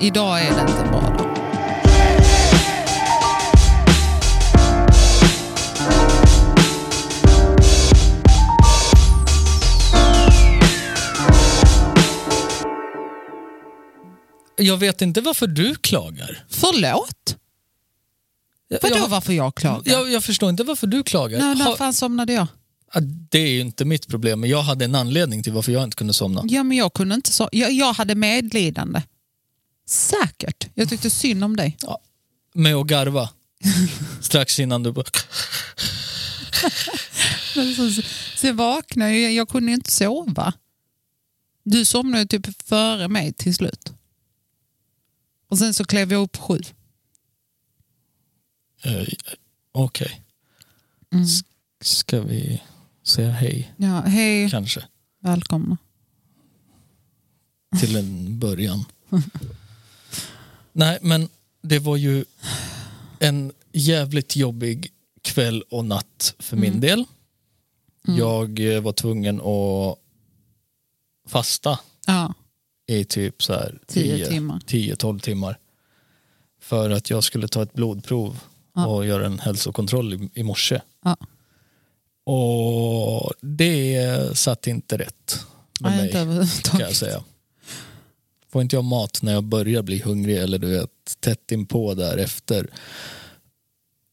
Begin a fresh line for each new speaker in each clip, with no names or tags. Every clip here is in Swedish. Idag är det inte en bra dag.
Jag vet inte varför du klagar.
Förlåt?
Jag-
Vadå
jag,
varför jag klagar?
jag, jag förstår inte varför du klagar.
när, när
Ha-
fan somnade jag?
Ja, det är ju inte mitt problem, men jag hade en anledning till varför jag inte kunde somna.
Ja, men jag kunde inte så. Jag, jag hade medlidande. Säkert. Jag tyckte synd om dig.
Med att garva. Strax innan du bara...
Men så- Sen vaknade jag. Jag kunde inte sova. Du somnade ju typ före mig till slut. Och sen så klev jag upp sju.
eh, Okej.
Mm.
S- Ska vi säga hej,
Ja, hej,
kanske?
välkomna.
Till en början. Nej, men det var ju en jävligt jobbig kväll och natt för
Mm.
min del. Jag eh, var tvungen att fasta
Ja,
i typ så här
Tio
10
timmar.
10-12 timmar. För att jag skulle ta ett blodprov
Ja.
och göra en hälsokontroll i, i morse.
ja.
Och det satt inte rätt med
Nej,
mig
inte
kan jag
överhuvudtaget.
säga. Får inte jag mat när jag börjar bli hungrig eller du vet tätt inpå därefter.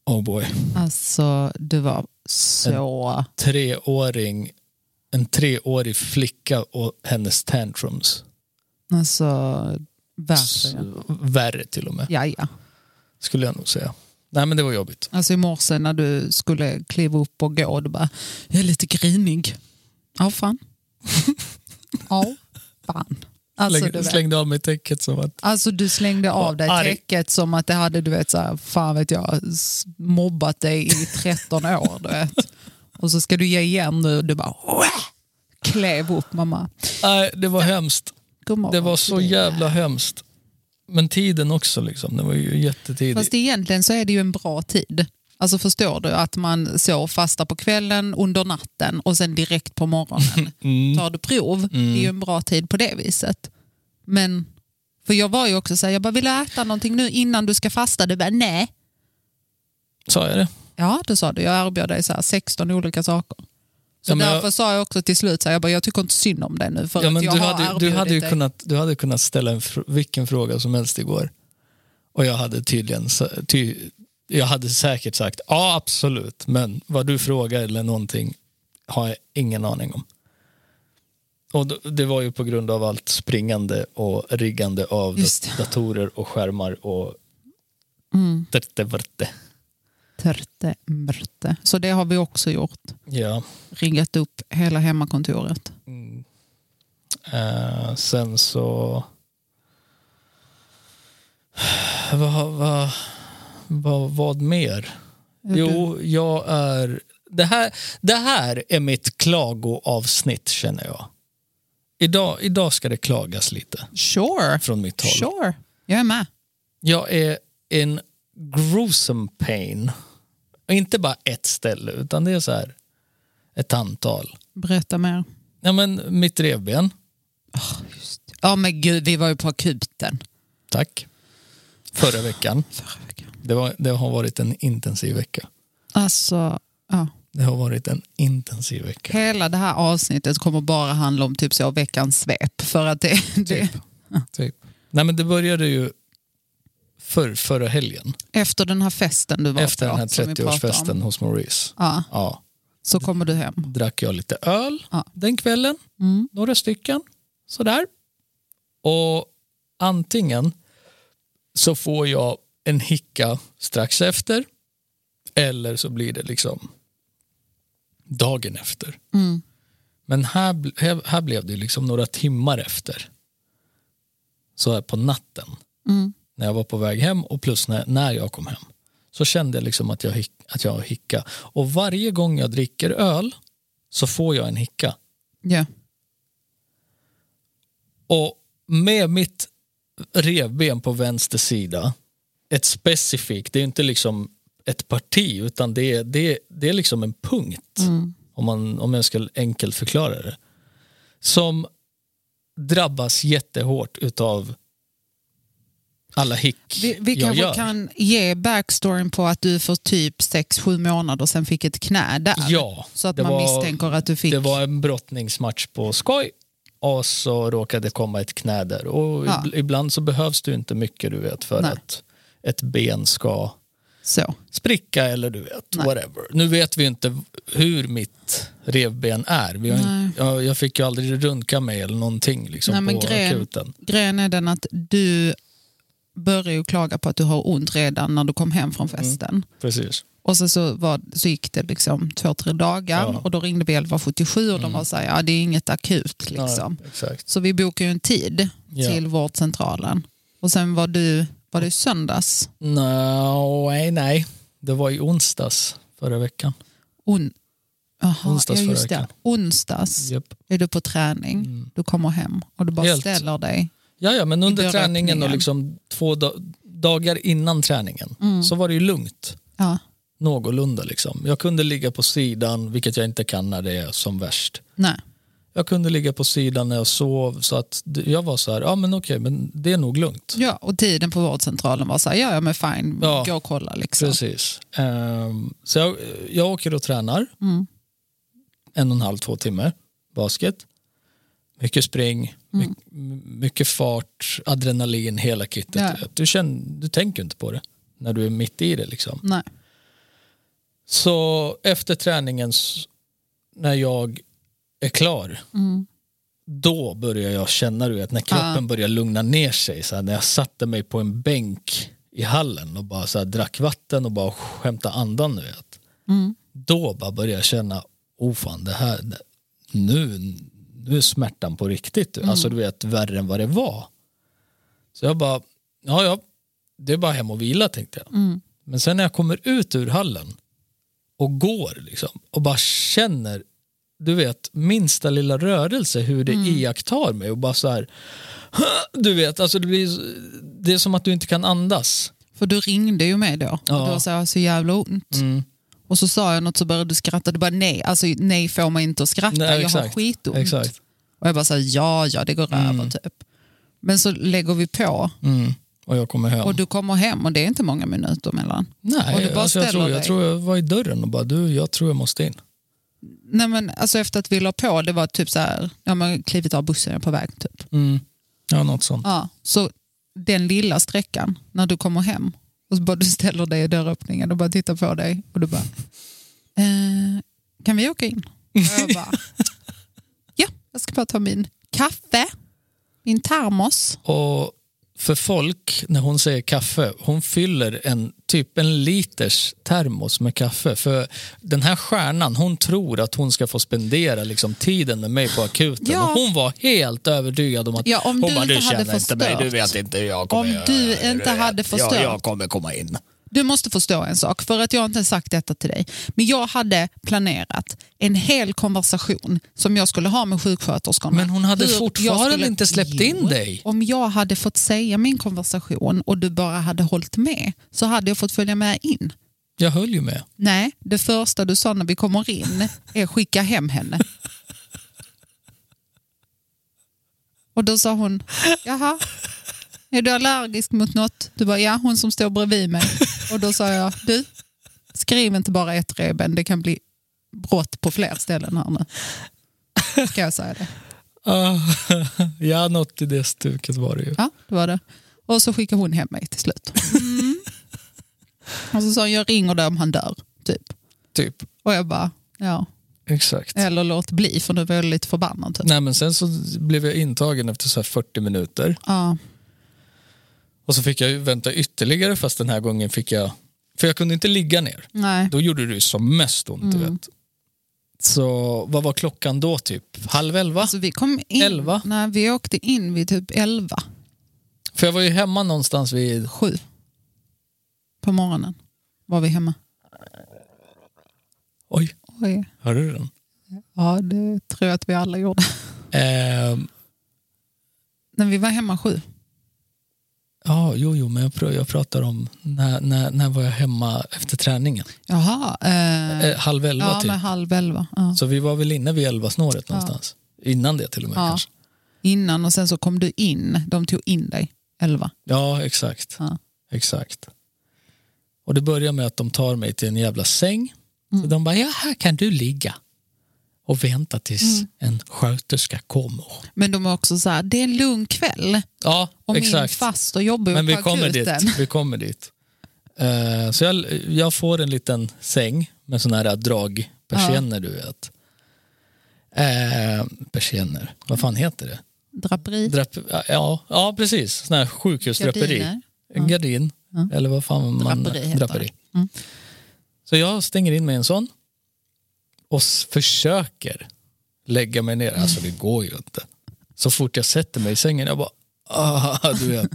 Oh boy.
Alltså, du var så...
Treåring, en treårig flicka och hennes tantrums.
Alltså, verkligen.
Värre till och med.
Ja, ja.
skulle jag nog säga. Nej men det var jobbigt.
Alltså i morse när du skulle kliva upp och gå, du bara, jag är lite grinig. Ja, fan. Ja, fan. Alltså
Släng,
du, vet,
slängde av mig täcket som att
alltså du slängde av dig
Arg.
täcket som att det hade, du vet, så här, fan vet jag, s- mobbat dig i 13 år. Du vet. Och så ska du ge igen nu, du bara, "Wah!" klev upp mamma.
nej, det var hemskt.
God morgon
Det var
till
så
dig.
jävla hemskt. Men tiden också liksom, det var ju jättetidigt.
Fast egentligen så är det ju en bra tid. Alltså förstår du att man så fasta på kvällen, under natten och sen direkt på morgonen.
Mm.
Tar du prov, det är ju en bra tid på det viset. Men, för jag var ju också så här, jag bara vill du äta någonting nu innan du ska fasta? Du bara nej.
Sa jag det?
Ja, då sa du, jag erbjöd dig så här 16 olika saker. Så
Ja, men
därför
jag-
sa jag också till slut, så här, jag, bara, jag tycker inte synd om dig nu för
Ja, men
att
du,
jag har
hade, du,
erbjudit
hade ju
dig.
kunnat, du hade kunnat ställa en, fr- vilken fråga som helst igår. Och jag hade tydligen, sa- ty, jag hade säkert sagt ja absolut, men vad du frågar eller någonting har jag ingen aning om. Och d- det var ju på grund av allt springande och riggande av
Just
dat- datorer och skärmar och
Mm.
derte verte.
Törte, mörte. Så det har vi också gjort.
Ja.
Riggat upp hela hemmakontoret.
Eh, sen så... Vad, vad, vad, vad mer?
Mm.
Jo, jag är... Det här, det här är mitt klagoavsnitt känner jag. Idag, idag ska det klagas lite
Sure.
från mitt håll.
Sure. Jag är med.
Jag är in gruesome pain. Och inte bara ett ställe, utan det är så här ett antal.
Berätta mer.
Ja, men mitt revben.
Ja men gud, vi var ju på akuten.
Tack. Förra veckan.
Förra veckan.
Det, var, det har varit en intensiv vecka.
Alltså, ja.
Det har varit en intensiv vecka.
Hela det här avsnittet kommer bara handla om typ så veckans svep. För att det, det,
Typ. Nej, men det började ju för, förra helgen.
efter den här festen du var
Efter
på,
den här
som vi pratade om,
30-årsfesten hos Maurice.
Ja,
Ja,
så kommer du hem.
drack jag lite öl
Ja.
den kvällen.
Mm.
Några stycken. Sådär. Och antingen så får jag en hicka strax efter. Eller så blir det liksom dagen efter.
Mm.
Men här, bl- här, här blev det liksom några timmar efter. Så här på natten.
Mm.
När jag var på väg hem och plus när, när jag kom hem. Så kände jag liksom att jag, hick, att jag hicka. Och varje gång jag dricker öl så får jag en hicka.
Ja.
Och med mitt revben på vänster sida, ett specifikt, det är inte liksom ett parti utan det är, det är, det är liksom en punkt.
Mm.
Om, man, om jag ska enkelt förklara det. Som drabbas jättehårt utav alla hick
Vi, vi
jag
kanske
gör.
kan ge backstoryn på att du för typ 6-7 månader sedan fick ett knä där.
Ja,
så att
det
man
var-
misstänker att du fick...
Det var en brottningsmatch på skoj och så råkade det komma ett knä där. Och
Ja.
ib- Ibland så behövs det ju inte mycket du vet för
Nej.
att ett ben ska
Så.
spricka eller du vet,
Nej.
whatever. Nu vet vi ju inte hur mitt revben är. Vi har
Nej.
in, jag, jag fick ju aldrig röntga mig eller någonting liksom,
Nej, men
på
grejen-
akuten.
Grejen är den att du började ju klaga på att du har ont redan när du kom hem
Mm.
från festen.
Precis.
Och sen så, var, så gick det liksom två, tre dagar
Ja. Mm.
och då ringde vi 1177 och de var så här, ja det är inget akut liksom.
Ja, exakt.
Så vi bokade ju en tid
Ja.
till vårdcentralen. Och sen var du, var det i söndags?
No, nej, nej. Det var i onsdags förra veckan.
On, aha,
Onsdags
ja,
förra
just det.
veckan.
Onsdags
Japp.
är du på träning, du kommer hem och du bara
Helt.
ställer dig.
Ja, ja, men under
dörröppningen.
träningen och liksom två da- dagar innan träningen
Mm.
så var det ju lugnt.
Ja,
Någorlunda liksom. Jag kunde ligga på sidan, vilket jag inte kan när det är som värst.
nej.
Jag kunde ligga på sidan när jag sov så att d- jag var så här, ja men okej, men det är nog lugnt.
Ja, och tiden på vårdcentralen var så här, ja, ja men fine,
Ja.
gå och kolla liksom.
Precis. Ehm, så jag, jag åker och tränar
Mm.
en och en halv, två timmar basket. Mycket spring,
Mm.
my- m- mycket fart, adrenalin, hela kittet.
Ja.
du vet. Du, känner, du tänker inte på det när du är mitt i det liksom.
Nej.
Så efter träningen, s- när jag är klar,
Mm.
då börjar jag känna du vet, när kroppen börjar lugna ner sig. Så här, när jag satte mig på en bänk i hallen och bara så här, drack vatten och bara skämtade andan. Du vet. Då bara började jag känna, oh fan det här, det- nu, nu är smärtan på riktigt. du. Alltså du vet, värre än vad det var. Så jag bara, ja ja, det är bara hem och vila tänkte jag. Men sen när jag kommer ut ur hallen och går liksom, och bara känner du vet, minsta lilla rörelse hur det
Mm.
iakttar mig och bara så här, du vet, alltså det, blir, det är som att du inte kan andas.
För du ringde ju mig då
Ja. Mm.
och då sa jag så jävla ont. Och så sa jag något så började du skratta. Du bara nej, alltså, nej får man inte att skratta.
Nej,
jag har
exakt.
skitont.
Exakt.
Och jag bara sa ja, ja det går över typ. Men så lägger vi på
Mm. Och jag kommer hem.
och du kommer hem och det är inte många minuter mellan.
Nej,
och du bara
alltså jag,
ställer
tror, jag
dig.
tror jag var i dörren och bara, du, jag tror jag måste in.
Nej, men, alltså, efter att vi la på, det var typ så här, ja, man klivit av bussen jag är på väg typ.
Mm. Ja, något sånt.
Ja, så den lilla sträckan när du kommer hem och så bara du ställer dig i dörröppningen och bara tittar på dig och du bara, eh, kan vi åka in? Och jag bara, ja, jag ska bara ta min kaffe, min termos.
Och för folk, när hon säger kaffe, hon fyller en typ en liters termos med kaffe. För den här stjärnan, hon tror att hon ska få spendera liksom, tiden med mig på akuten.
Ja.
Och hon var helt övertygad om att
Ja, om
hon
du
bara,
inte hade
känner inte mig,
förstört."
du vet inte hur jag kommer
Om
göra,
du inte hade förstört.
Jag, jag kommer komma in.
Du måste förstå en sak, för att jag har inte sagt detta till dig. Men jag hade planerat en hel konversation som jag skulle ha med sjuksköterskorna.
Men hon hade
Hur jag
fortfarande
skulle-
inte släppt
Jo,
in dig.
Om jag hade fått säga min konversation och du bara hade hållit med så hade jag fått följa med in.
Jag höll ju med.
Nej, det första du sa när vi kommer in är skicka hem henne. Och då sa hon, jaha, är du allergisk mot något? Du bara, ja, hon som står bredvid mig. Och då sa jag, du, skriv inte bara ett reben, det kan bli brott på fler ställen här nu. Ska jag säga det?
Ah, ja, något i det stuket var det ju.
Ja, det var det. Och så skickade hon hem mig till slut. Och så sa hon, jag ringer dig om han dör, typ.
Typ.
Och jag bara, ja.
Exakt.
Eller låt bli, för nu var jag lite förbannad. Typ.
Nej, men sen så blev jag intagen efter så här 40 minuter.
Ja.
Och så fick jag ju vänta ytterligare fast den här gången fick jag, för jag kunde inte ligga ner.
Nej.
Då gjorde det ju som mest ont
Mm.
du vet. Så vad var klockan då typ? Halv elva?
Alltså, vi kom in,
Elva?
Nej, vi åkte in vid typ elva,
För jag var ju hemma någonstans vid,
sju. På morgonen var vi hemma.
oj,
Oj.
hörde du den?
Ja, det tror jag att vi alla gjorde.
Ehm,
När vi var hemma sju.
Ja, jo, jo, men jag, pr- jag pratar om när, när, när var jag hemma efter träningen?
Jaha. Eh,
Eh, halv elva
ja,
typ.
med halv elva. Ja.
Så vi var väl inne vid elva-snåret någonstans. Innan det till och med
Ja.
kanske.
Innan och sen så kom du in. De tog in dig. 11.
Ja, exakt.
Ja.
Exakt. Och det börjar med att de tar mig till en jävla säng.
Mm.
Så de bara, ja här kan du ligga och vänta tills
Mm.
en sköterska kommer.
Men de är också så här, det är en lugn kväll
Ja,
och min
exakt.
faster jobbar ju
Men vi
på
kommer dit.
akuten.
Vi kommer dit. Eh, så jag, jag får en liten säng med sådana här dragpersienner du vet. Uh, persienner, vad fan heter det?
Draperi.
Drap ja, ja, precis. Sån här sjukhusdraperi.
Gardiner.
En gardin. Eller vad fan man...
Mm. Draperi heter
draperi.
det. Mm.
Så jag stänger in mig i en sån och s- försöker lägga mig ner. Alltså det går ju inte. Så fort jag sätter mig i sängen, jag bara... Ah, du vet.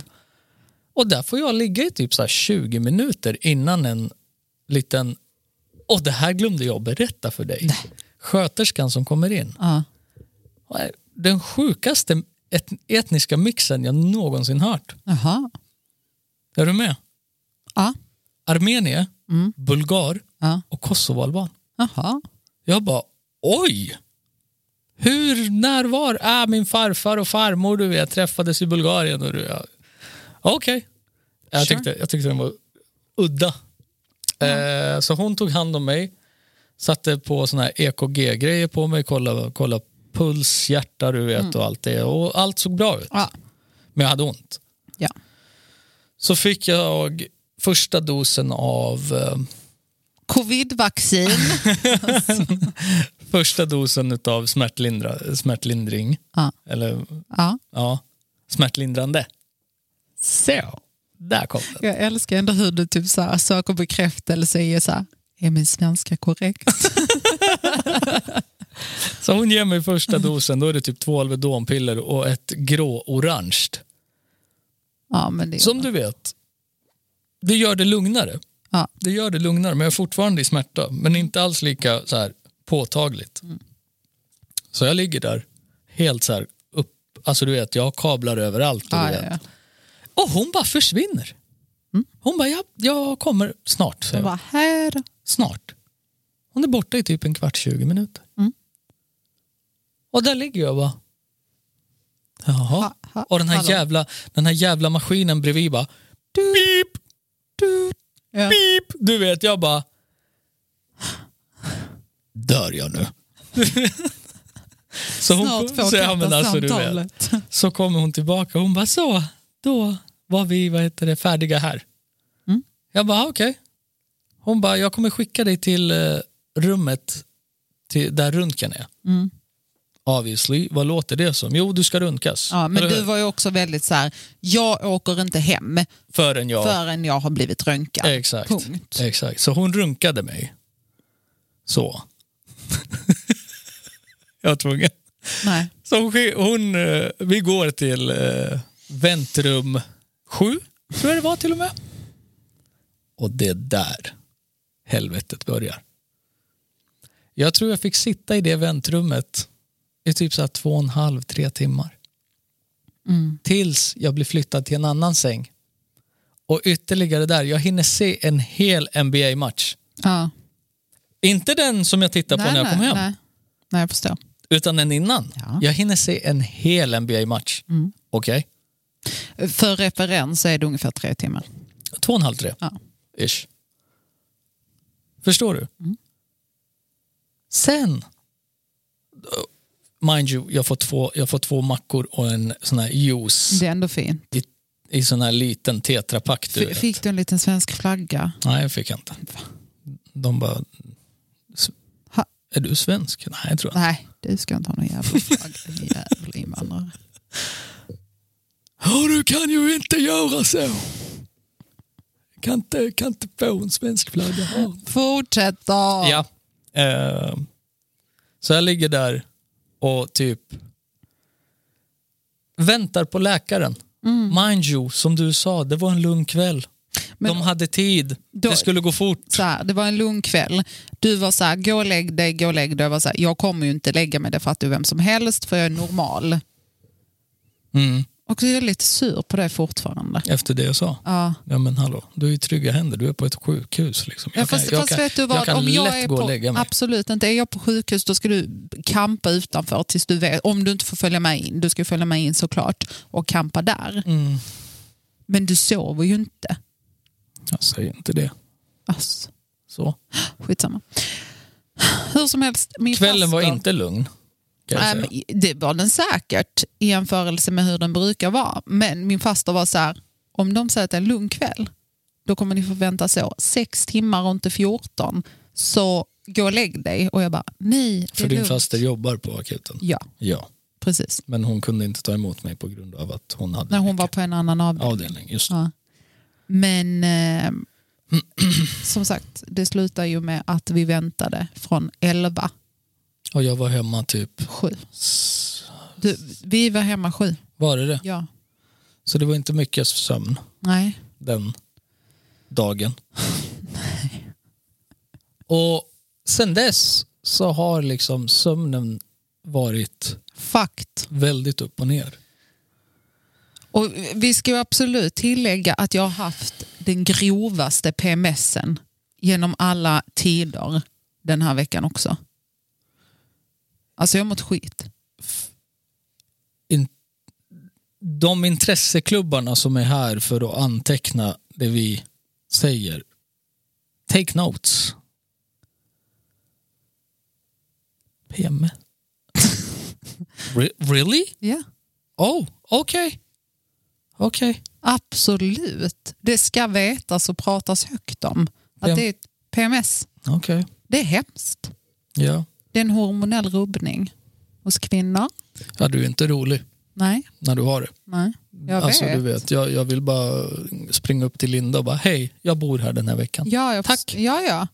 och där får jag ligga i typ så här 20 minuter innan en liten... Och det här glömde jag berätta för dig. Sköterskan som kommer in
Ja.
den sjukaste et etniska mixen jag någonsin hört.
Jaha.
Är du med?
Ja.
Armenier, bulgar
Mm. Ja.
och kosovoalban.
Jaha.
Jag bara, oj! Hur, när, var? Äh, min farfar och farmor du vet, träffades i Bulgarien. och du- ja. Okej. Jag,
Sure.
tyckte, jag tyckte den var udda. Eh, så hon tog hand om mig, satte på såna här EKG-grejer på mig, kollade, kollade puls, hjärta du vet och allt det. Och allt såg bra ut.
Mm. Ja.
Men jag hade ont.
Ja.
Så fick jag första dosen av eh,
Covidvaccin.
första dosen utav smärtlindra, smärtlindring.
Ja.
Eller
Ja.
ja, smärtlindrande. Så, där kom den.
Jag älskar ändå hur du typ så här, söker bekräftelse i så här, är min svenska korrekt?
Så hon ger mig första
Mm.
dosen, då är det typ två Alvedonpiller och ett grå-orange.
Ja, men det är
Som du vet, det gör det lugnare.
Ja.
Det gör det lugnare, men jag är fortfarande i smärta. Men inte alls lika så här, påtagligt.
Mm.
Så jag ligger där helt så här upp. Alltså du vet, jag har kablar överallt. Och,
ja,
du
ja,
vet.
ja. Mm.
och hon bara försvinner. Hon bara, ja, jag kommer snart. säger
Jag
hon.
bara, här.
Snart. Hon är borta i typ en kvart, 20 minuter.
Mm.
Och där ligger jag bara. Jaha.
Ha- ha-
och den här,
hallå.
jävla, den här jävla maskinen bredvid bara. Beep, du,
Ja.
beep. Du vet, jag bara. Dör jag nu? så
Snart får
så, ja, men
katta
alltså, du vet,
samtalet.
så kommer hon tillbaka och hon bara så, då var vi vad heter det, färdiga här.
Mm.
Jag bara okej. Hon bara jag kommer skicka dig till eh, rummet till, där röntgen är.
Mm.
Obviously, vad låter det som? Jo du ska röntgas.
Ja, men
Eller
du
hur?
var ju också väldigt så här, jag åker inte hem
Förrän jag...
förrän jag har blivit röntgad.
Exakt.
Punkt.
Exakt. Så hon runkade mig. Så. jag var tvungen.
Nej.
Så hon, sk- hon, eh, vi går till eh, väntrum 7, tror jag det var till och med. Och det är där helvetet börjar. Jag tror jag fick sitta i det väntrummet i typ så här två och en halv, tre timmar. Tills jag blir flyttad till en annan säng. Och ytterligare där, jag hinner se en hel NBA-match.
Ja.
Inte den som jag tittar på när jag
nej,
kom hem
Nej. nej, jag förstår.
utan en innan.
Ja. Mm.
Jag hinner se en hel NBA-match. Okej?
För referens så är det ungefär tre timmar.
Två och en halv, tre.
Ja.
Ish. Förstår du?
Mm.
Sen, eh, mind you, jag får, två, jag får två mackor och en sån här juice
Det är ändå fint.
i, i sån här liten tetrapack. Du
F-
vet.
Fick du en liten svensk flagga?
Nej, jag fick jag inte. De bara, "S-
Ha.
är du svensk? Nej, jag tror jag inte.
Nej, du ska inte ha någon jävla flagga. din jävla invandrare.
Ja, du kan ju inte göra så. Kan inte, kan inte få en svensk flagga här.
Fortsätt då.
Ja. Eh, så jag ligger där och typ väntar på läkaren. Mind you, som du sa, det var en lugn kväll.
Mm. Men-
De hade tid.
Då-
det skulle gå fort.
så här, det var en lugn kväll. Du var så här, gå och lägg dig, gå och lägg dig. Jag, var så här, jag kommer ju inte lägga mig, det fattar ju vem som helst, för jag är normal.
Mm.
Och så är jag lite sur på det fortfarande.
Efter det jag sa.
Ja.
Ja men hallå, du är i trygga händer. Du är på ett sjukhus. Liksom.
Ja, fast, fast vet du vad,
jag kan
om jag
lätt
är
gå
på,
och lägga mig.
Absolut inte. Är jag på sjukhus då ska du kampa utanför tills du vet, om du inte får följa med in. Du ska följa med in såklart och kampa där.
Mm.
Men du sover ju inte.
Jag säger inte det.
Ass,
Så.
skitsamma. Hur som helst, min
Kvällen var
faster-
inte alltså. lugn. Kan jag
Nej,
säga.
men det var den säkert i jämförelse med hur den brukar vara. Men min faster var så här, om de säger att det är en lugn kväll, då kommer ni förvänta så. Sex timmar och inte 14. Så gå och lägg dig. Och jag bara, nej, det
För
är
din
lugnt.
faster jobbar på akuten.
Ja,
Ja.
precis.
Men hon kunde inte ta emot mig på grund av att hon hade
När hon
mycket
var på en annan avdelning.
avdelning. Just.
Ja. Men eh, som sagt, det slutar ju med att vi väntade från 11,
Och jag var hemma typ...
7.
s-
Du, vi var hemma 7.
Var det det?
Ja.
Så det var inte mycket sömn
Nej.
den dagen. Och sen dess så har liksom sömnen varit
Fakt.
väldigt upp och ner.
Och vi ska ju absolut tillägga att jag har haft den grovaste PMSen genom alla tider den här veckan också. Alltså jag har mått skit.
in, de intresseklubbarna som är här för att anteckna det vi säger, take notes. PM. Re- really?
Ja.
Oh, okej. Okej.
Absolut. Det ska vetas och pratas högt om. Att det är ett PMS.
Okej.
Det är hemskt.
Ja.
Det är en hormonell rubbning hos kvinnor.
ja. Du är inte rolig
Nej,
när du har det.
nej. Jag
alltså,
vet.
Du vet jag, jag vill bara springa upp till Linda och bara, hej, jag bor här den här veckan.
Ja, jag
Tack.
förs- Ja, ja.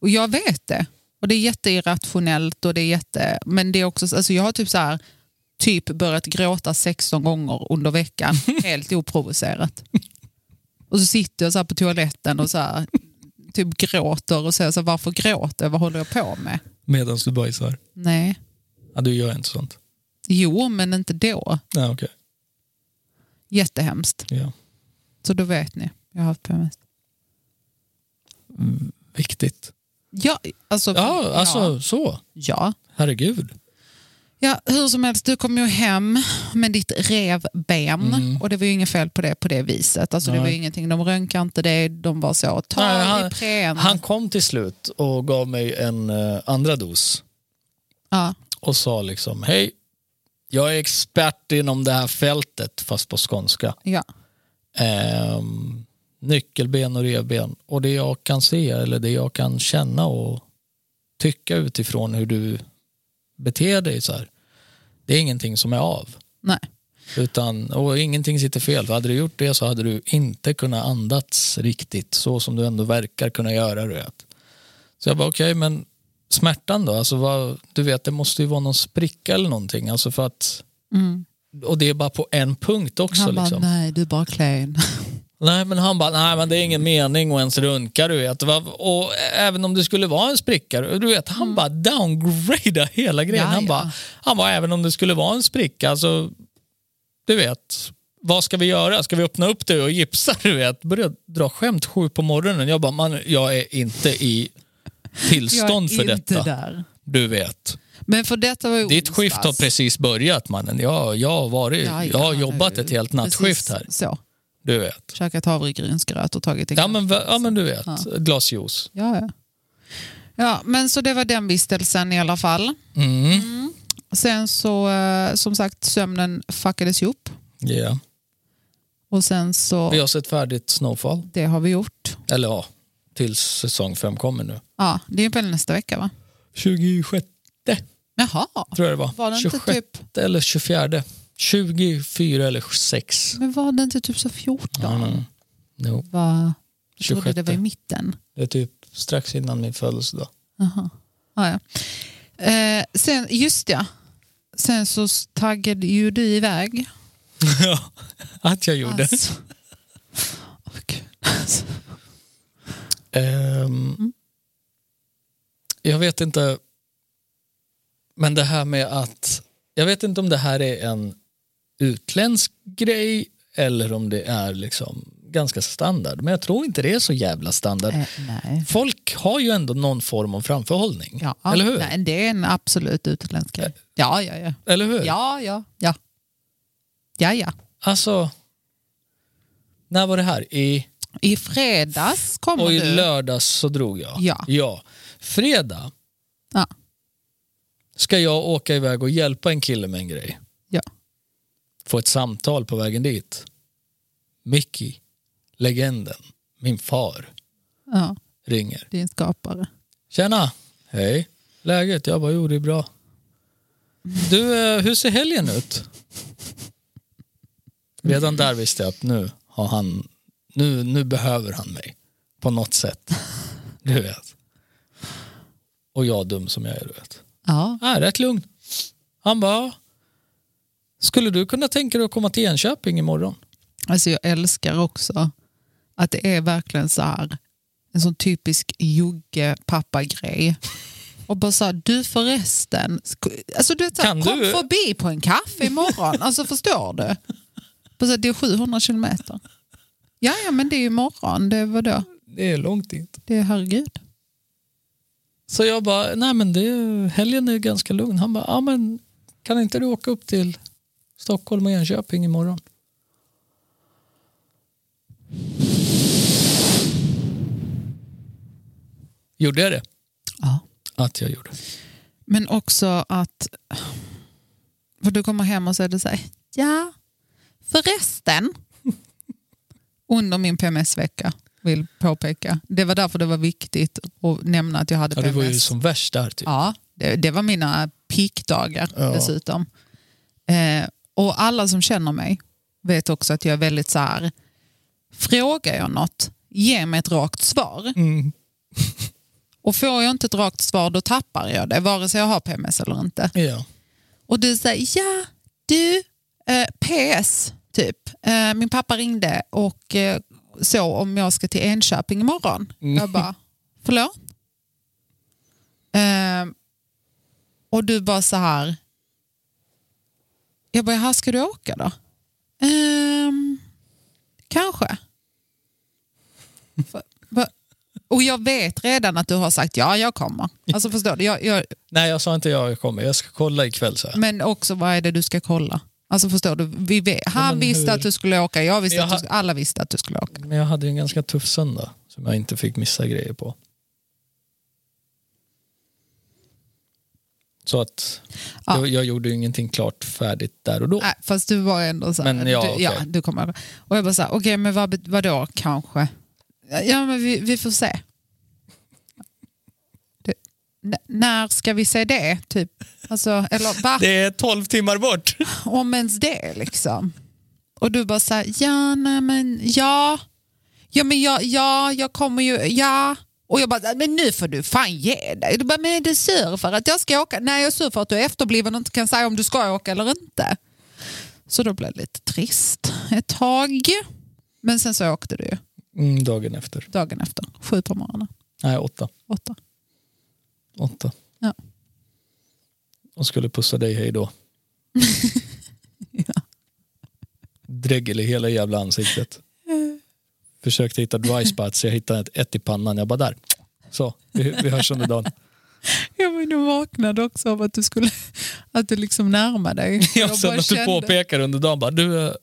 Och jag vet det. Och det är jätteirrationellt och det är jätte... Men det är också, alltså jag har typ så här, typ börjat gråta 16 gånger under veckan. helt oprovocerat. Och så sitter jag så här på toaletten och så här, typ gråter och säger så här, varför gråter jag? Vad håller jag på med?
Medan du bajsar.
Nej.
Ja, du gör inte sånt.
Jo, men inte då.
Nej, okej.
Jättehemskt.
Ja.
Så då vet ni. Jag har haft PMS.
Mm, Viktigt.
Ja, alltså,
Ja, alltså
Ja.
så.
ja.
Herregud.
Ja, hur som helst, du kom ju hem med ditt revben och det var ju inget fel på det på det viset. Alltså, det var ju
Mm. Nej.
ingenting, de röntgade inte det, de var så, ta
Nej, han-
Ipren.
Han kom till slut och gav mig en eh, andra dos
Ja,
och sa liksom hej, jag är expert inom det här fältet fast på skånska.
ja.
Ehm, nyckelben och revben och det jag kan se eller det jag kan känna och tycka utifrån hur du beter dig så här. Det är ingenting som är av.
Nej.
Utan, och ingenting sitter fel. För hade du gjort det så hade du inte kunnat andas riktigt så som du ändå verkar kunna göra. du vet. Så jag bara, okej, men smärtan då? Alltså, vad, du vet, det måste ju vara någon spricka eller någonting. Alltså för att,
Mm.
och det är bara på en punkt också.
Han bara,
liksom.
nej du är bara klen.
Nej men han bara, nej men det är ingen mening att ens runka du vet. Va- Och även om det skulle vara en spricka, du vet, han bara downgrada hela grejen.
Mm. Ja,
han,
ja.
Bara, han bara, även om det skulle vara en spricka, alltså, du vet, vad ska vi göra? Ska vi öppna upp det och gipsa? Du vet, började dra skämt sju på morgonen. Jag bara, man, jag är inte i tillstånd för
inte
detta.
där.
Du vet.
Men för detta var ju
Ditt skift har
onsdags.
precis börjat mannen. Jag, jag, har, varit,
Ja,
jag har
ja,
jobbat
nu.
ett helt nattskift
Precis
här.
Så,
Du vet.
käkat havregrynsgröt och tagit en
Ja men, va- ja, men du
Ja.
vet. Ett glas juice.
Ja, ja. ja, men så det var den vistelsen i alla fall.
Mm.
Sen så, eh, som sagt, sömnen fuckades ihop.
Yeah.
Och sen så,
Vi har sett färdigt Snowfall.
det har vi gjort.
Eller ja, tills säsong fem kommer nu.
Ja, det är väl nästa vecka va?
26
Jaha,
tror jag det var.
var det
26
inte typ,
eller 24. 24 eller 6.
men var det inte typ så 14?
Mm. Jo,
Va? Jag trodde
26.
det var i mitten.
det är typ strax innan min födelsedag.
Jaha. Ah, ja. eh, sen, just ja, sen så taggade ju du iväg.
Ja, att jag gjorde.
Alltså. Åh, Gud. Alltså.
Ehm,
Mm.
Jag vet inte, men det här med att, jag vet inte om det här är en utländsk grej eller om det är liksom ganska standard, men jag tror inte det är så jävla standard.
Eh, nej.
Folk har ju ändå någon form av framförhållning,
Ja,
eller hur? Eh.
Nej, det är en absolut utländsk grej. Ja, ja, ja.
Eller hur?
Ja, ja, ja. Ja, ja.
Alltså, När var det här? I,
I fredags kommer
och i
du.
lördags så drog jag.
Ja.
ja. Fredag
Ja.
ska jag åka iväg och hjälpa en kille med en grej.
Ja.
Få ett samtal på vägen dit. Mickey, legenden, min far,
ja,
ringer.
din skapare.
Tjena! Hej. Läget? Jag bara, jo det är bra. Du, eh, hur ser helgen ut? Redan där visste jag att nu har han, nu, nu behöver han mig. På något sätt. Du vet. Och jag dum som jag är, du vet.
Ja,
Nej, rätt lugn. Han bara, skulle du kunna tänka dig att komma till Enköping imorgon?
alltså jag älskar också att det är verkligen så här en sån typisk jugge-pappa-grej. Och bara så här, du förresten, sk- alltså du vet så här,
Kan
kom
du-
förbi på en kaffe imorgon. Alltså förstår du? Bara så här, det är 700 kilometer. Ja, ja, men det är ju imorgon. Det är vadå?
Det är långt dit.
Det är herregud.
Så jag bara, nej men det, helgen är ganska lugn. Han bara, ja men kan inte du åka upp till Stockholm och Enköping imorgon? Gjorde jag det?
Ja.
Att jag gjorde.
Men också att... För du kommer hem och säger det så här, ja, förresten. Under min PMS-vecka, vill påpeka. Det var därför det var viktigt att nämna att jag hade
Ja, du
PMS.
var ju som värst där typ.
Ja, det, det var mina peakdagar
Ja.
dessutom. Eh, och alla som känner mig vet också att jag är väldigt så här, frågar jag något, ge mig ett rakt svar.
Mm.
Och får jag inte ett rakt svar då tappar jag det, vare sig jag har PMS eller inte.
Ja.
Och du säger, ja du, eh, PS typ. Eh, min pappa ringde och eh, så om jag ska till Enköping imorgon. Jag bara, förlåt? Eh, och du bara så här, jag bara, här ska du åka då? Ehm, kanske. För- va- Och jag vet redan att du har sagt ja, jag kommer. Alltså förstår du? Jag, jag,
Nej jag sa inte ja, jag kommer. Jag ska kolla ikväll så här.
men också vad är det du ska kolla? Alltså förstår du? Vi vet, han
men
visste
hur?
att du skulle åka, jag visste
Jag
att
ha-
du, sk- alla visste att du skulle åka.
Men jag hade ju en ganska tuff söndag som jag inte fick missa grejer på. Så att
Ja.
jag, jag gjorde ju ingenting klart färdigt där och då.
Nej, Äh, fast du var ändå så här,
Men ja,
du,
okej.
ja, du kommer ihåg. Och jag bara så här, okej men vad, bet- vadå kanske? Ja men vi, vi får se. Det, n- när ska vi se det? Typ. Alltså, eller va?
Det är 12 timmar bort.
Om ens det liksom. Och du bara så här, ja nej men ja. Ja men ja, ja, jag kommer ju, ja. Och jag bara, så här, men nu får du fan ge dig. Du bara, men är du sur för att jag ska åka? Nej jag är sur för att du är efterbliven och inte kan säga om du ska åka eller inte. Så då blev det lite trist ett tag. Men sen så åkte du ju
Mm, dagen efter.
dagen efter, sju på morgonen,
Nej, åtta.
åtta.
åtta.
Ja.
Och skulle pussa dig hej då.
Ja.
Dregel i hela jävla ansiktet. Försökte hitta dry spots, jag hittade ett, ett i pannan. Jag bara där. Så, vi, vi hörs under dagen.
Ja men du vaknade också av att du skulle, att du liksom närmade dig.
Jag sen
bara
att du
kände-
påpekar under dagen bara, du, eh,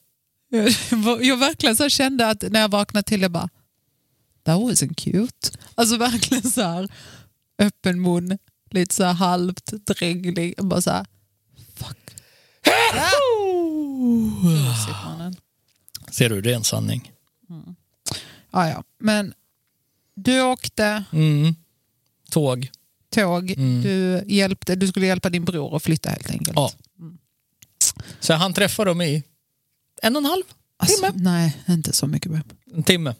Jag, var- jag verkligen så kände att när jag vaknade till, jag bara, that wasn't cute. Alltså verkligen så här, öppen mun, lite så här halvt dreglig. Jag Bara så här, fuck.
Ah.
Gosigt, mannen.
ser du, ren sanning.
Ja, ja. Men du åkte
Mm. Tåg.
tåg,
Mm.
du, hjälpte, du skulle hjälpa din bror att flytta helt enkelt.
Ja. Så han träffar dem i en och en halv
alltså,
timme.
nej, inte så mycket. babe.
En timme.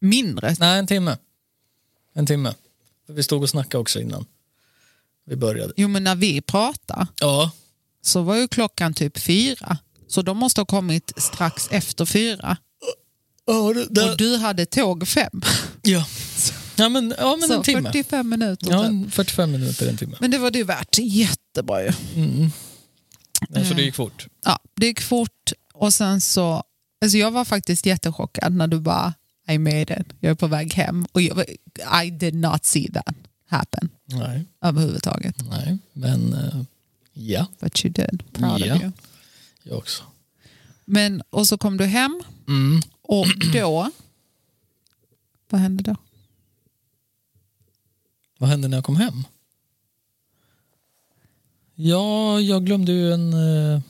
Mindre.
Nej, en timme. En timme. Vi stod och snackade också innan vi började.
Jo, men när vi pratar
Ja,
så var ju klockan typ fyra. Så de måste ha kommit strax efter fyra.
Ja, det,
Och du hade tåg fem.
ja. ja men, ja, men
så
en timme.
45 minuter.
ja,
typ.
en 45 minuter, en timme.
Men det var det ju värt. Jättebra ju.
Mm. Ja, så det gick fort.
Ja, det gick fort och sen så... Alltså jag var faktiskt jättechockad när du bara I made it, jag är på väg hem. Och jag, var- I did not see that happen
Nej,
överhuvudtaget.
nej. men eh, ja,
But you did. Proud
Ja.
of you.
jag också.
Men, och så kom du hem
Mm.
Och då... Vad hände då?
Vad hände när jag kom hem? Ja, jag glömde ju en, eh,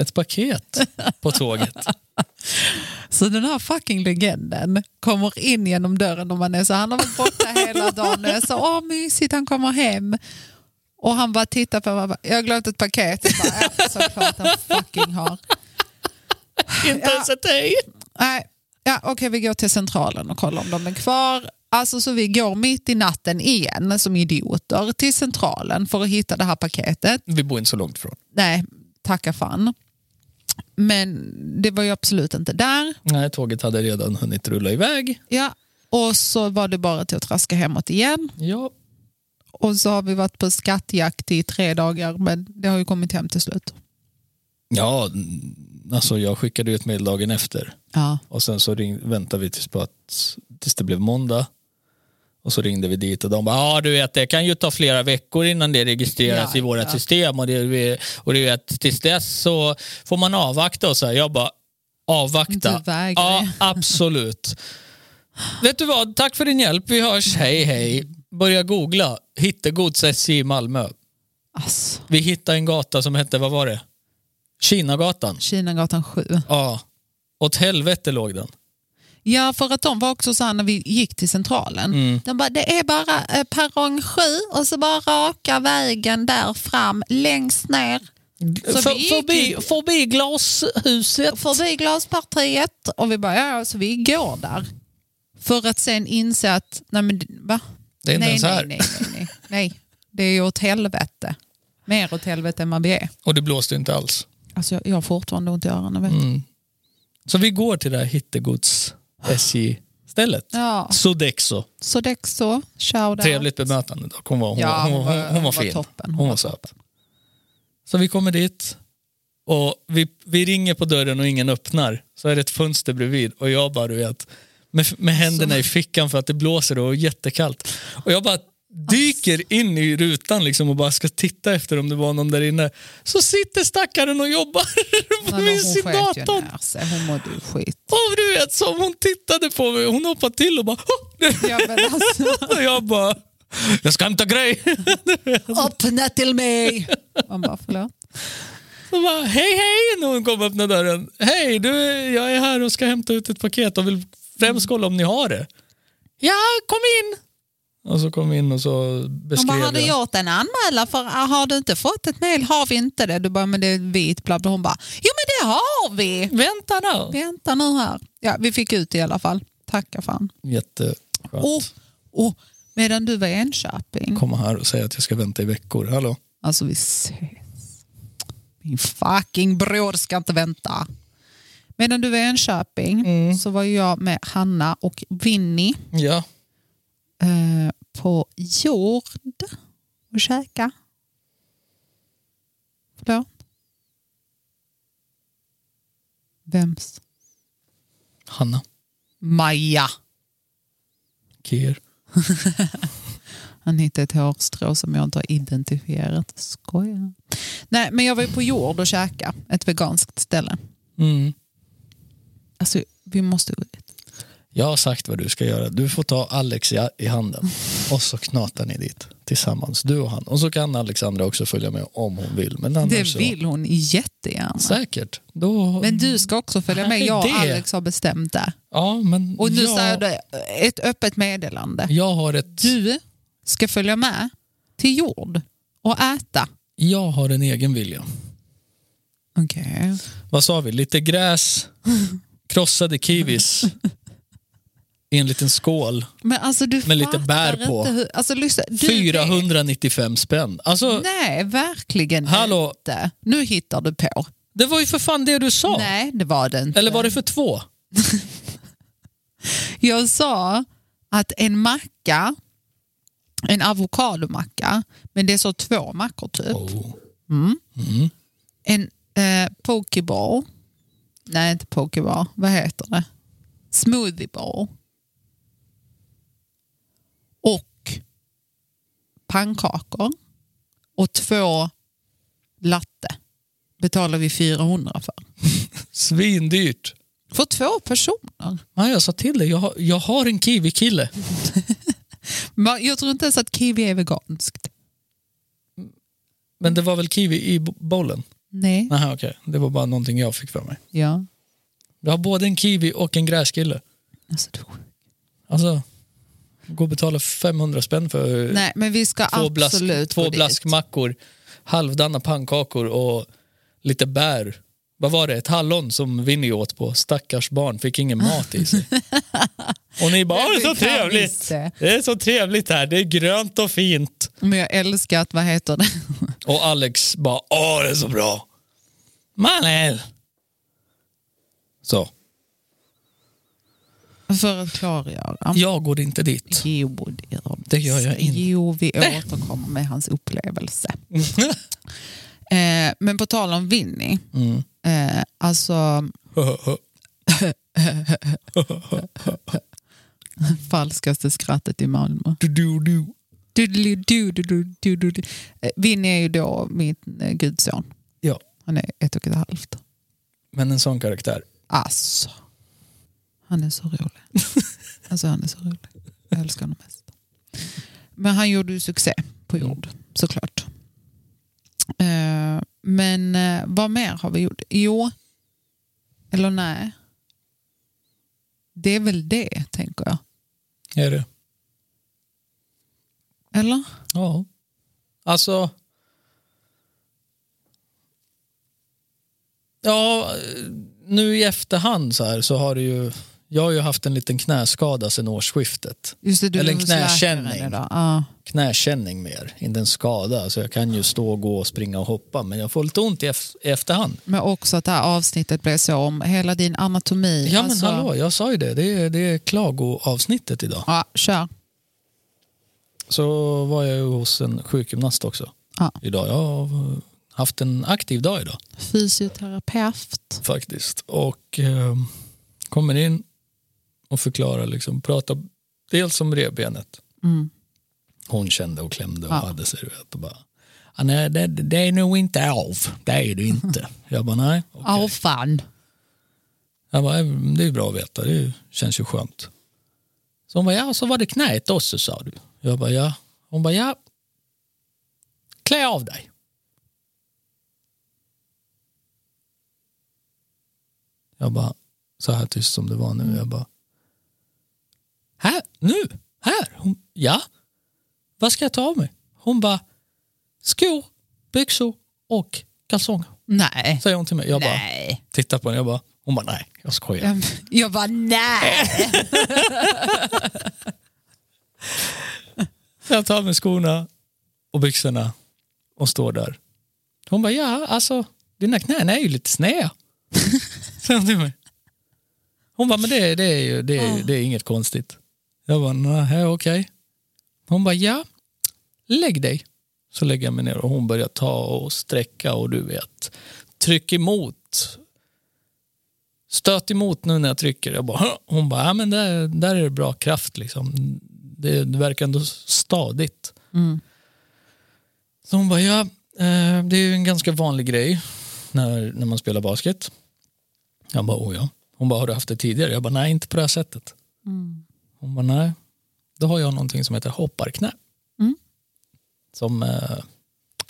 ett paket på tåget.
Så den här fucking legenden kommer in genom dörren och man är så han har varit borta hela dagen och jag sa åh mysigt han kommer hem. Och han bara tittar på mig och bara, jag har glömt ett paket. Jag bara, ja, såklart han fucking har.
Inte ens ett hej.
Nej, ja, okej vi går till centralen och kollar om de är kvar. Alltså så vi går mitt i natten igen som idioter till centralen för att hitta det här paketet.
Vi bor inte så långt ifrån.
Nej, tacka fan. Men det var ju absolut inte där.
Nej, tåget hade redan hunnit rulla iväg.
Ja. Och så var det bara till att traska hemåt igen.
Ja,
Och så har vi varit på skattjakt i tre dagar men det har ju kommit hem till slut.
ja mm, alltså jag skickade ju ett mejl dagen efter.
Ja.
Och sen så ring, väntade vi tills, på att, tills det blev måndag. Och så ringde vi dit och de bara, ja du vet det kan ju ta flera veckor innan det registreras
Ja,
i våra
ja.
system och, det, vi- och du vet tills dess så får man avvakta och så här. Jag bara, avvakta?
Du vägrar.
Ja, absolut. vet du vad, tack för din hjälp, vi hörs, hej hej. Börja googla, hittegods SJ i Malmö.
Alltså,
Vi hittade en gata som hette, vad var det? Kinagatan.
Kinagatan 7.
Ja, åt helvete låg den.
Ja, för att de var också så här när vi gick till centralen. De bara, det är bara eh, perrong 7 och så bara raka vägen där fram längst ner. Så
För,
vi gick
förbi,
ju-
förbi glashuset.
förbi glaspartiet och vi bara, ja, ja, så vi går där. För att sen inse att, nej men va?
Det är inte
nej,
ens här.
Nej, nej, nej, nej. Det är ju åt helvete. Mer åt helvete än vad vi är.
Och det blåste inte alls.
Alltså jag, jag har fortfarande ont i öronen. Vet du?
Mm. Så vi går till det här hittegods SJ-stället.
Ja,
Sodexo.
så det så. Shoutout.
Trevligt bemötande dock. Hon var, hon,
Ja,
var- hon, hon, hon, var fin.
toppen. Hon
Hon
var
var söt. Så vi kommer dit och vi, vi ringer på dörren och ingen öppnar. Så är det ett fönster bredvid och jag bara, du vet, med, med händerna i fickan för att det blåser och är jättekallt. Och jag bara dyker in i rutan liksom och bara ska titta efter om det var någon där inne. Så sitter stackaren och jobbar på
Nej, men
min
hon sket ju
datorn.
ner sig. Hon mådde ju skit.
Och du vet, som hon tittade på mig, hon hoppade till och bara "Åh!"
Ja, men alltså,
och jag bara, jag ska hämta grej.
öppna till mig! Man bara, förlåt.
Hon bara, hej hej, när hon kom och öppnade dörren. Hej, du, jag är här och ska hämta ut ett paket och vill främst kolla om ni har det. Ja, kom in! Och så kom vi in och så
De
beskrev
bara, har du
jag.
gjort en anmälan för ah, har du inte fått ett mejl har vi inte det. Du bara, men det är vit bla bla. Hon bara, jo men det har vi.
Vänta då!
Vänta nu här. Ja, vi fick ut det i alla fall. Tacka fan.
Jätteskönt.
Och, och, medan du var i Enköping.
Komma här och säga att jag ska vänta i veckor. Hallå?
Alltså vi ses. Min fucking bror ska inte vänta. Medan du var i Enköping så var jag med Hanna och Vinny
Ja.
eh, på jord och käka. Förlåt? Vems?
Hanna.
Maja.
Kier.
Han hittade ett hårstrå som jag inte har identifierat. Skojar. Nej, men jag var ju på jord och käka. Ett veganskt ställe.
Mm.
Alltså, vi måste gå dit.
Jag har sagt vad du ska göra. Du får ta Alex i, i handen och så knatar ni dit tillsammans, du och han. Och så kan Alexandra också följa med om hon vill. Men annars
Det vill hon jättegärna.
Så, säkert. Då,
Men du ska också följa med.
Nej,
Jag och
det-
Alex har bestämt det.
ja, men
Och nu
jag,
säger jag det, ett öppet meddelande.
jag har ett,
Du ska följa med till jord och äta.
jag har en egen vilja.
Okej.
Vad sa vi? Lite gräs, krossade kiwis i en liten skål.
Men alltså du
Med lite
fattar
bär
inte
på.
Hur, alltså, lyssna, du vet-
495 spänn. Alltså,
Nej, verkligen
Hallå.
inte. Nu hittar du på.
det var ju för fan det du sa.
Nej, det var det inte.
Eller var det för två?
Jag sa att en macka, en avokadomacka, men det är så två mackor typ.
Oh.
En eh, pokeball. Nej, inte pokeball. Vad heter det? Smoothieball. Och pannkakor. Och två latte betalar vi 400 för.
Svindyrt.
För två personer?
Ja, jag sa till dig, jag har, jag har en kiwi-kille.
Men Jag tror inte ens att kiwi är veganskt.
Men det var väl kiwi i bo- bollen?
Nej.
Nej, okej. Det var bara någonting jag fick för mig.
Ja.
Jag har både en kiwi och en gräskille.
Alltså, du...
Alltså, gå och betala 500 spänn för
Nej, men vi ska
Eh, två,
absolut
blask, två
gå dit.
blaskmackor, halvdana pannkakor och lite bär. Vad var det? Ett hallon som Vinny åt på. Stackars barn, fick ingen mat i sig. Och ni bara, "Åh, det är så
kan
trevligt.
visst det.
Det är så trevligt här, det är grönt och fint.
Men jag älskar att, vad heter det?
Och Alex bara, åh det är så bra. Manuel. Så,
För att klargöra.
jag går inte dit.
Jo, det gör du.
Det gör jag inte.
Jo, vi återkommer med hans upplevelse. Eh, men på tal om Winnie.
Mm.
Eh, alltså, falskaste skrattet i Malmö.
Du, du, du.
Doodly-doo-doo-doo-doo-doo. Eh, Winnie är ju då min eh, gudson.
Ja,
Han är ett och ett halvt.
men en sån karaktär.
Alltså. Han är så rolig. Alltså han är så rolig. Jag älskar honom mest. Men han gjorde ju succé på
Mm.
jord, såklart. Eh, Men eh, vad mer har vi gjort? Jo, eller nej. Det är väl det, tänker jag.
Är det?
Eller?
Ja. Alltså... Ja, nu i efterhand så här så har det ju... Jag har ju haft en liten knäskada sedan årsskiftet.
Just det, du
Eller
är
en
hos läkaren
knäkänning.
idag. Ja.
Knäkänning mer, inte en skada. Så jag kan ju stå, gå, springa och hoppa men jag får lite ont i, ef- i efterhand.
Men också att det här avsnittet blev så om hela din anatomi.
Ja men
Alltså-
hallå, jag sa ju det. Det är, det är klagoavsnittet idag.
Ja, kör.
Så var jag ju hos en sjukgymnast också
Ja.
idag. Jag har haft en aktiv dag idag.
Fysioterapeut.
faktiskt. Och eh, kommer in och förklarar, liksom, pratar dels om revbenet.
Mm.
Hon kände och klämde och
Ja.
hade sig. du Vet, och bara, "Ah, nej, det, det är nog inte av. Det är det inte. Jag bara, nej. okej."
Åh fan.
Jag bara, "Mm, det är bra att veta. Det är ju- känns ju skönt. Så hon bara, ja, så var det knäet också sa du. Jag bara, ja. Hon bara, ja. Klä av dig. Jag bara, så här tyst som det var nu. Jag bara, här, nu, här. Hon, ja. Vad ska jag ta av mig? Hon bara, skor, byxor och kalsonger.
Nej.
Säger hon till mig. Jag bara,
Nej.
tittar på henne. Jag bara, hon bara, nej, jag skojar.
Jag bara nej.
Jag tar av mig skorna och byxorna och står där. Hon bara, ja alltså dina knän är ju lite sneda. Säger hon till mig. Hon bara, men det, det, är, ju, det, är, ju- det är inget konstigt. Jag bara, nej okej. Hon bara, ja lägg dig. Så lägger jag mig ner och hon börjar ta och sträcka och du vet, tryck emot. Stöt emot nu när jag trycker. Jag bara, "Hå." hon bara, ja men där, där är det bra kraft liksom. Det, det verkar ändå stadigt.
Mm.
Så hon bara, ja, eh, det är ju en ganska vanlig grej när, när man spelar basket. Jag bara, oh ja. Hon bara, har du haft det tidigare? Jag bara, nej inte på det här sättet.
Mm.
Hon bara, nej. Då har jag någonting som heter hopparknä.
Mm.
Som eh,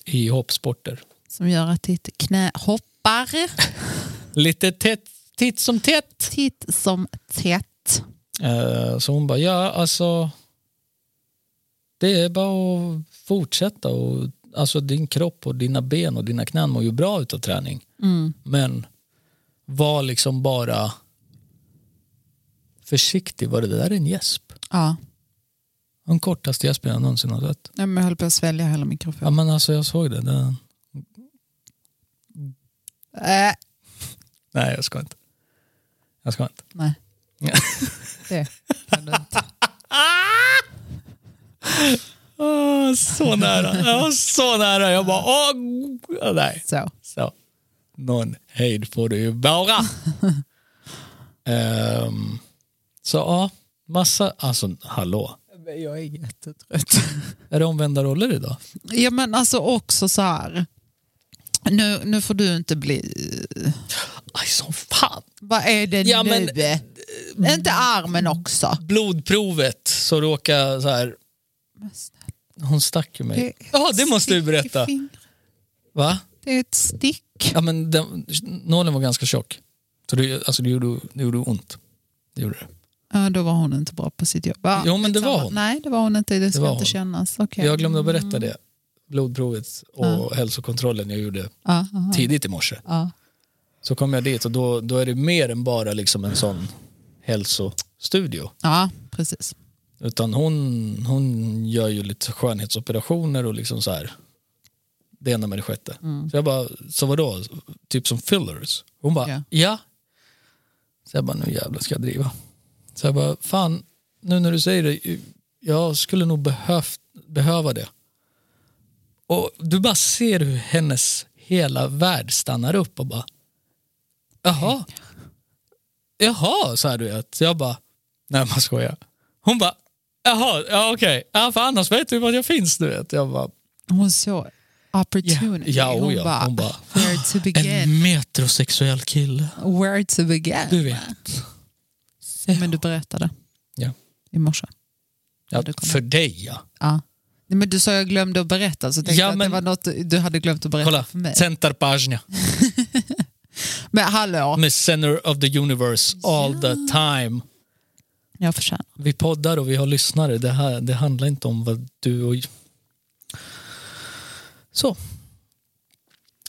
i hoppsporter.
Som gör att ditt knä hoppar
Lite tätt, titt som tätt.
titt som tätt.
Eh, Så hon bara, ja alltså det är bara att fortsätta och alltså din kropp och dina ben och dina knän mår ju bra utav träning.
Mm.
Men var liksom bara försiktig, var det där en gäsp?
Ja.
Den kortaste gäspen jag någonsin har sett.
Nej, men jag höll på att svälja hela
Ja
mikrofonen.
men alltså jag såg det. Den...
Äh,
Nej jag ska inte. Jag ska inte.
nej.
Ja.
Det kan du inte.
Åh, så nära, ja, så nära. Jag bara, åh, ja, nej.
Så.
Så. Någon höjd får du ju bara. Ehm, så ja, massa, alltså hallå.
Jag är jättetrött.
Är det omvända roller idag?
Ja, men alltså också så här. Nu, nu får du inte bli...
Aj som fan.
Vad är det
Ja,
nu?
men-
Inte armen också.
Blodprovet så råkade så här, hon stack ju mig. Ja, det måste du berätta. Va?
Det är ett stick.
Ja, men den, nålen var ganska tjock. Så det, alltså, det, gjorde, det gjorde ont. Det gjorde det.
Ja, då var hon inte bra på sitt jobb. Ja,
Jo, men det
skitsamma.
var hon.
Nej, det var hon inte. Det ska
var
inte
hon.
kännas. Okej.
Jag glömde att berätta det. Blodprovet och hälsokontrollen jag gjorde
Ja, ja,
tidigt i morse.
ja.
Så kom jag dit och då, då är det mer än bara liksom en sån hälsostudio.
ja, precis.
Utan hon, hon gör ju lite skönhetsoperationer och liksom så här. Det ena med det sjätte. Så jag bara, så vadå? Typ som fillers. Hon bara,
Ja.
ja. Så jag bara, nu jävlar ska jag driva. Så jag bara, fan, nu när du säger det, jag skulle nog behövt, behöva det. Och du bara ser hur hennes hela värld stannar upp och bara, jaha. Jaha, sa du att jag bara, nej man skojar. Hon bara, jaha, ja okej, ja, för annars vet du vad jag finns du vet. Jag bara,
Hon såg opportunity.
Ja, ja,
hon,
oja.
bara,
Hon bara,
where to begin?
en metrosexuell kille.
Where to begin?
mm." Du vet.
Men du berättade
Ja.
i morse.
Ja,
det kommer.
för dig ja.
Ja. Nej, Men du sa jag glömde att berätta, så tänkte
Ja,
jag att
men-
det var något du hade glömt att berätta
Kolla,
för mig.
centerpagnia.
Men hallå,
Med center of the universe all the time.
jag förtjänar.
Vi poddar och vi har lyssnare. Det, här, det handlar inte om vad du och... Så.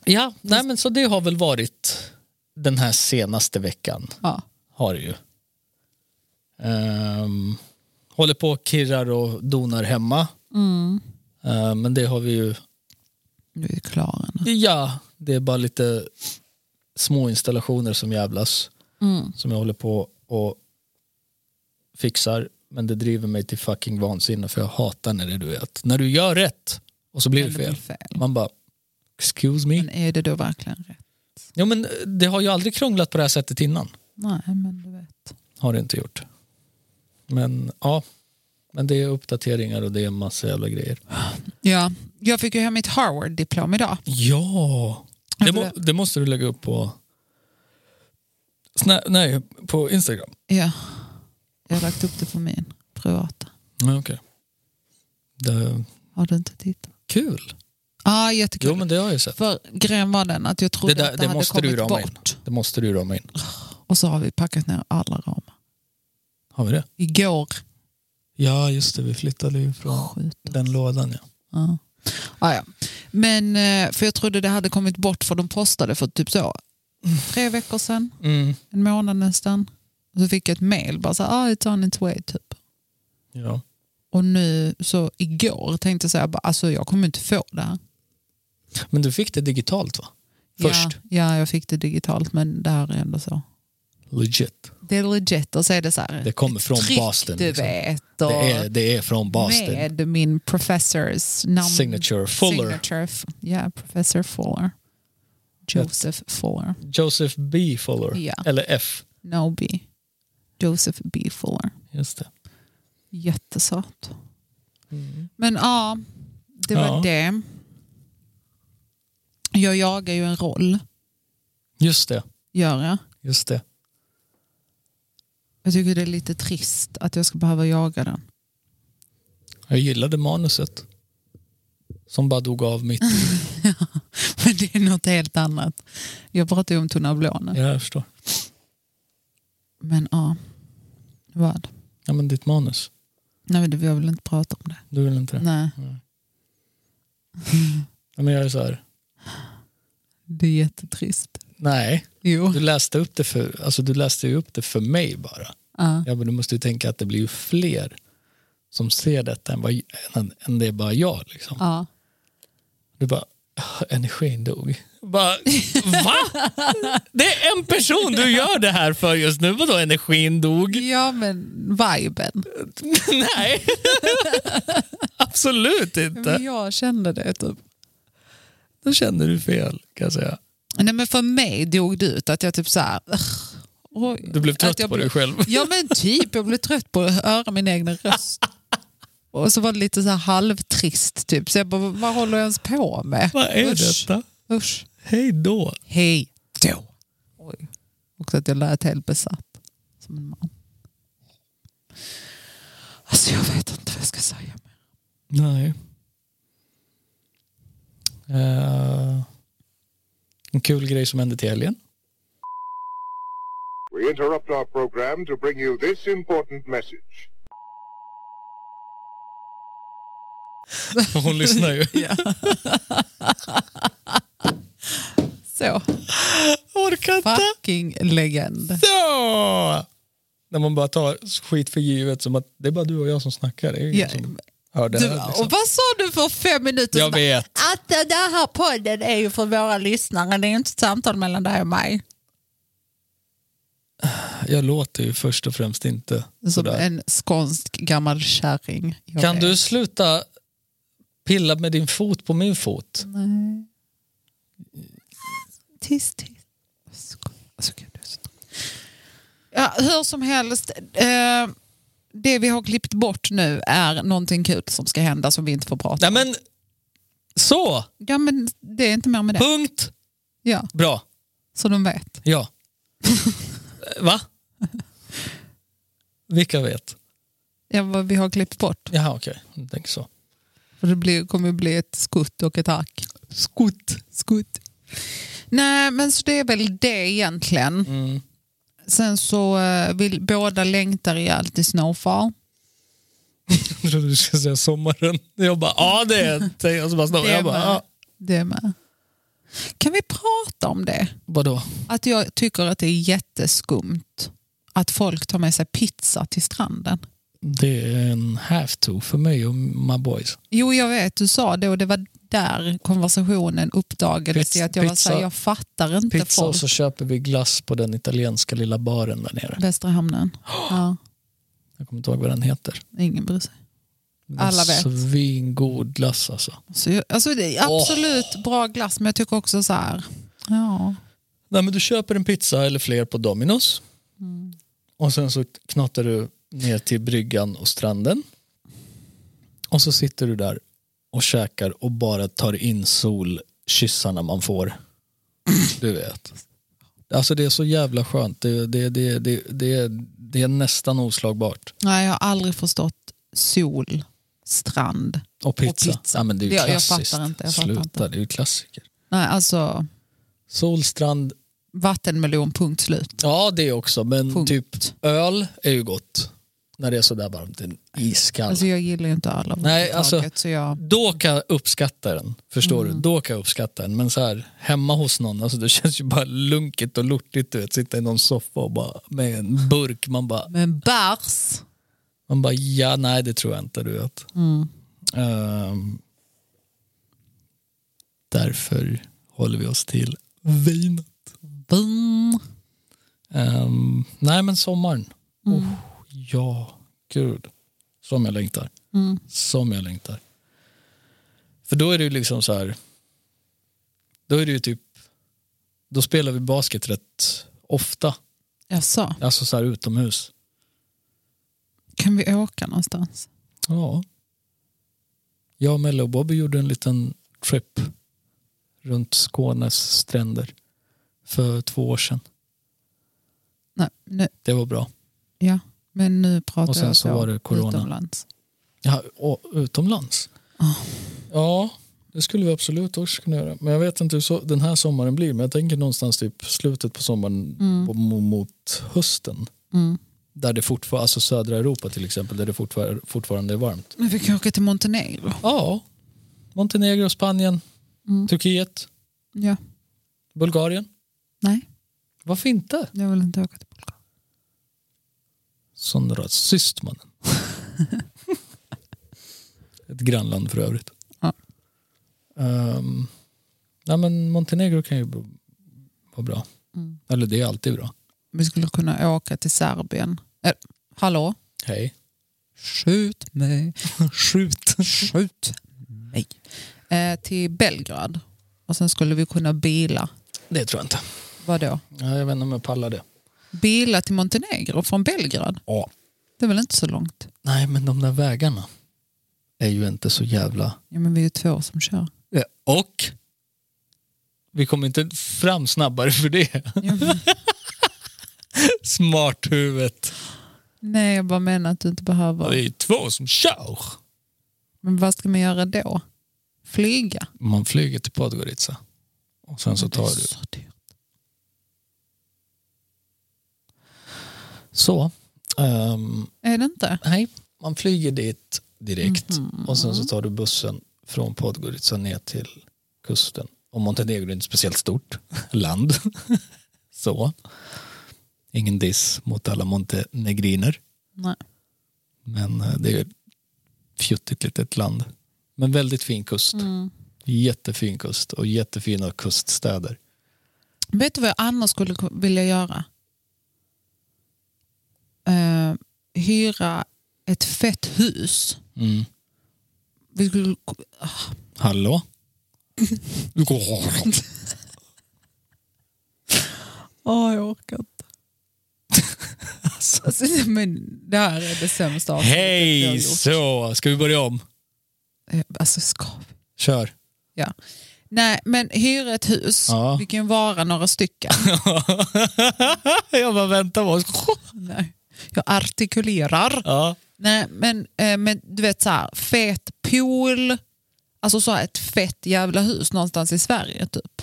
Ja, nej men så det har väl varit den här senaste veckan.
Ja.
har det ju. Ehm, håller på och kirrar och donar hemma.
Mm.
Ehm, men det har vi ju.
Nu är vi klara nu.
Ja, det är bara lite små installationer som jävlas.
Mm.
Som jag håller på och fixar. Men det driver mig till fucking vansinne för jag hatar när det du vet. När du gör rätt och så blir det
Eller
fel.
fel.
Man bara, excuse
Men
me.
är det då verkligen rätt?
Ja, men det har ju aldrig krånglat på det här sättet innan.
Nej, men
Mm.
du vet.
Har det inte gjort. Men ja, men det är uppdateringar och det är massa jävla grejer.
Ja, jag fick ju hem mitt Harvard-diplom idag.
Ja! Det, må, det måste du lägga upp på... Snä, nej, på Instagram.
Ja. Jag har lagt upp det på min privata.
Ja, okej. Det,
Har du inte tittat?
kul!
Ja, ah, jättekul.
Jo, men det har jag ju sett.
För grejen var den att jag trodde
Det där-
att
det
det, hade
måste du
kommit
rama in.
bort.
Det måste du rama in.
Och så har vi packat ner alla ramar.
Har vi det?
Igår.
Ja, just det. Vi flyttade ju från
Skjut.
den lådan. Ja.
Ja. Ah, ja. Men eh, för jag trodde det hade kommit bort för de postade för typ så tre veckor sedan,
Mm.
en månad nästan. Och så fick jag ett mail bara så här, ah, it's on its way typ.
ja.
Och nu så igår tänkte jag så här, bara, alltså jag kommer inte få det här.
Men du fick det digitalt, va? Först.
Ja, ja, jag fick det digitalt men det här är ändå så.
Legit.
Det är legit och så är det så här.
Det kommer från
tryck,
Boston.
du
liksom.
vet. Och
Det, är, det är från Boston.
Med min professors namn.
Signature Fuller.
Signature, f- ja, professor Fuller. Joseph Fuller.
Joseph B. Fuller.
Ja.
Eller F.
No B. Joseph B. Fuller.
Just det.
Jättesöt. Men ja, det var
Ja.
det. Jag jagar ju en roll,
Just det.
gör jag.
Just det.
Jag tycker det är lite trist att jag ska behöva jaga den.
Jag gillade manuset. Som bara dog av
Mm.
mitt.
Men det är något helt annat. Jag pratar ju om Tunna blå nu.
Ja, jag förstår.
Men ja, vad?
Ja, men ditt manus.
Nej, men det- jag vill inte prata om det.
Du vill inte det?
Nej,
Ja, men jag är så här.
det är jättetrist.
Nej,
Jo.
du läste, upp det för, alltså, du läste ju upp det för mig bara.
Ja.
Ja, men du måste ju tänka att det blir ju fler som ser detta än, vad, än, än det är bara jag. Liksom.
Ja.
Du bara, "Ah, energin dog. Bara, va? Det är en person du gör det här för just nu. Vadå energin dog?
ja, men viben.
Nej, absolut
Men
inte.
jag kände det typ.
Då känner du fel kan jag säga.
Nej, men för mig dog det ut att jag typ så här... "Ugh, oj."
Du blev
Att
trött
jag
på
blev-
dig själv.
Ja, men typ. Jag blev trött på att höra min egen röst. Och så var det lite så här halvtrist typ. Så jag bara, vad håller jag ens på med?
Vad är
Usch.
detta?
Usch.
Hej då.
Hej då. Oj. Också att jag lät helt besatt. Som en man. Alltså jag vet inte vad jag ska säga.
Nej. Eh, en kul grej som hände till helgen.
We interrupt our program to bring you this important message.
Hon lyssnar ju.
Ja. Så,
Orkar inte.
fucking legend.
Så! När man bara tar skit för givet som att det är bara du och jag som snackar. Det är ju ingen
Ja.
som hör det
Du,
här,
och
liksom.
vad sa du för fem minuter
Jag
sedan?
vet.
Att den här podden är ju för våra lyssnare. Det är ju inte ett samtal mellan dig och mig.
Jag låter ju först och främst inte
Som
sådär.
en skånsk gammal kärring. Jag
Kan
vet.
du sluta pilla med din fot på min fot?
Nej. Tyst, tyst. Alltså, gud, det är så- Ja, hur som helst, eh, det vi har klippt bort nu är någonting kul som ska hända som vi inte får prata
Nej
om.
men, så!
Ja, men det är inte mer med det.
Punkt!
Ja,
Bra.
så de vet.
Ja. Va? Vilka vet?
Ja, vad vi har klippt bort.
Jaha, okej. Jag tänker så.
För det blir, kommer ju bli ett skutt och ett hack.
Skutt.
Skutt. Nej, men så det är väl det egentligen.
Mm.
Sen så eh, vill båda längtar ihjäl till Snowfall.
Jag trodde du skulle säga sommaren. Jag bara, ja det är det. Jag bara, snabbt.
Det är
jag bara,
med.
ja.
Det är med. Kan vi prata om det?
Vadå?
Att jag tycker att det är jätteskumt att folk tar med sig pizza till stranden.
Det är en have to för mig och my boys.
Jo, jag vet, du sa det och det var där konversationen uppdagades.
Pizza-
i att jag var så här,
pizza-
jag fattar inte
Pizza och
folk.
så köper vi glass på den italienska lilla baren där nere.
Västra hamnen. Ja,
Jag kommer inte ihåg vad den heter.
ingen bryr sig.
Men
Alla vet.
Svingod glass alltså.
Så jag, alltså det är absolut bra glass, men jag tycker också så här, ja,
Nej, men du köper en pizza eller fler på Domino's.
Mm.
Och sen så knatar du ner till bryggan och stranden. Och så sitter du där och käkar och bara tar in solkyssarna man får. Du vet. Alltså det är så jävla skönt. Det, det, det, det, det, det är nästan oslagbart.
nej, jag har aldrig förstått sol, strand.
Och pizza.
pizza.
Ja, men det är ju
Jag- jag
klassiskt.
fattar inte, jag fattar
Sluta,
inte.
det är ju klassiker.
Nej, alltså
Solstrand,
vattenmelon, punkt slut.
ja det också. Men
Punkt.
typ Öl är ju gott när det är sådär varmt. En iskall.
Alltså jag gillar ju inte öl
Nej,
överhuvudtaget.
alltså-
så jag,
Då kan jag uppskatta den. Förstår
Mm.
du? Då kan jag uppskatta den. Men så här, hemma hos någon, alltså, det känns ju bara lunket och lortigt. Du vet. Sitta i någon soffa och bara, med en burk. Man bara,
men bärs,
man bara ja, nej det tror jag inte. Du vet.
Mm.
Ehm, därför håller vi oss till vin.
boom.
Ehm, nej men sommaren. Oh, ja, gud. Som jag längtar. Som jag längtar. För då är det ju liksom så här. Då är det ju typ. Då spelar vi basket rätt ofta.
Jaså,
Alltså så här utomhus.
kan vi åka någonstans?
Ja. Jag, och Melle och Bobby gjorde en liten trip runt Skånes stränder för två år sedan.
Nej, nu,
Det var bra.
ja. Men nu pratar
Och sen
jag
så var det corona.
utomlands.
Ja, och utomlands?
Ja.
Ja, det skulle vi absolut också kunna göra. Men jag vet inte hur så, den här sommaren blir. Men jag tänker någonstans typ slutet på sommaren på, mo- mot hösten.
Mm.
Där det fortfarande, alltså södra Europa till exempel, där det fortfar- fortfarande är varmt.
Men vi kan åka till Montenegro.
Ja, Montenegro, Spanien, Mm. Turkiet,
Ja.
Bulgarien.
Nej,
Varför inte?
jag vill inte åka till Bulgarien.
Sån rasist mannen. Ett grannland för övrigt.
Ja.
Ehm, nej men Montenegro kan ju b- vara bra.
Mm.
Eller det är alltid bra.
Vi skulle kunna åka till Serbien. Eh, hallå?
Hej.
Skjut mig.
Skjut.
Skjut mig. Eh, till Belgrad. Och sen skulle vi kunna bila.
Det tror jag inte.
Vadå?
Ja, jag vet inte om jag pallar det.
Bila till Montenegro från Belgrad.
Ja.
Det är väl inte så långt?
Nej men de där vägarna är ju inte så jävla...
Ja, men vi är ju två som kör.
Ja, Och vi kommer inte fram snabbare för det. Smarthuvudet.
Nej, jag bara menar att du inte behöver.
Det är två som kör.
Men vad ska man göra då? Flyga?
Man flyger till Podgorica. Och sen så
Men det är
tar du.
så dyrt.
Så. ehm,
Är det inte?
nej, man flyger dit direkt. Och sen så tar du bussen från Podgorica ner till kusten. Och Montenegro är inte speciellt stort land. så. Ingen diss mot alla montenegriner.
Nej.
Men eh, det är ett fjuttigt litet land. Men väldigt fin kust.
Mm.
Jättefin kust och jättefina kuststäder.
Vet du vad jag annars skulle ku- vilja göra? Eh, hyra ett fett hus.
Mm.
Vi skulle... Ah,
Hallå?
åh, jag orkar inte. alltså, men det här är det sämsta avsnittet jag har
Hej
gjort.
så! Ska vi börja om?
Eh, Alltså, ska vi?
Kör.
Ja. Nej, men hyra ett hus.
Ja.
Vi kan ju vara några stycken.
jag bara väntar på oss.
Nej. Jag artikulerar.
Ja.
Nej, men, eh, men du vet så här, fet pool. Alltså så här, ett fett jävla hus någonstans i Sverige typ.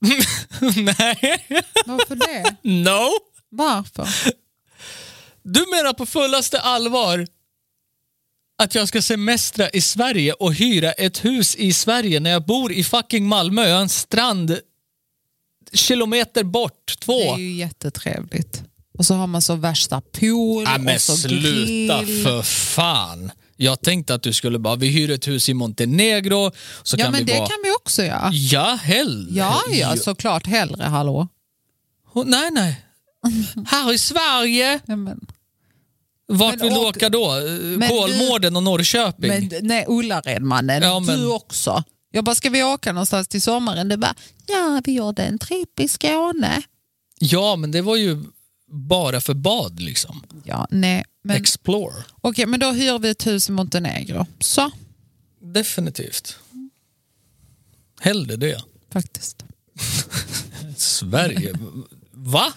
Nej.
Varför det?
No.
Varför?
Du menar på fullaste allvar att jag ska semestra i Sverige och hyra ett hus i Sverige när jag bor i fucking Malmö. Jag har en strand kilometer bort.
Det
Två.
är ju jättetrevligt. Och så har man så värsta pool
Ja, men
och så
sluta
grill.
för fan. Jag tänkte att du skulle bara, vi hyr ett hus i Montenegro så
Ja
kan
men
vi
det
vara...
kan vi också göra.
Ja, hell.
Ja, ja, såklart hellre hallå.
Hon- Nej, nej. Här i Sverige,
Ja, men.
vart
Men
vill du
åk-
åka då?
du-
Kolmården och Norrköping?
Men, nej, Ullaredmannen.
Ja, men-
Du också. Jag bara, ska vi åka någonstans till sommaren? Du bara, ja vi gjorde en tripp i Skåne.
Ja, men det var ju bara för bad liksom.
Ja, nej. Men,
Explore.
okej, men då hyr vi ett hus i Montenegro. Så,
Definitivt. Hellre det.
faktiskt.
Sverige. Va?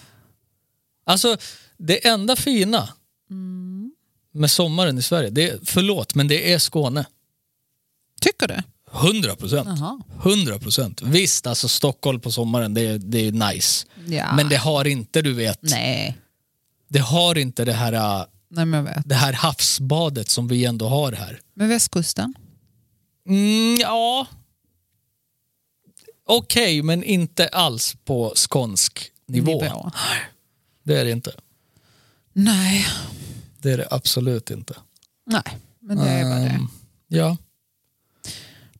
Alltså, det enda fina
Mm.
med sommaren i Sverige, det är, förlåt, men det är Skåne.
Tycker du?
100 procent.
Jaha.
100 procent. Visst, alltså Stockholm på sommaren, det är, det är nice.
Ja.
Men det har inte, du vet,
Nej.
det har inte det här, äh,
Nej, men jag vet.
det här havsbadet som vi ändå har här.
Men västkusten?
Mm, ja. Okej, men inte alls på skånsk nivå.
Nivå.
Det är det inte.
Nej.
Det är det absolut inte.
Nej, men det är vad det är.
Ehm, Ja.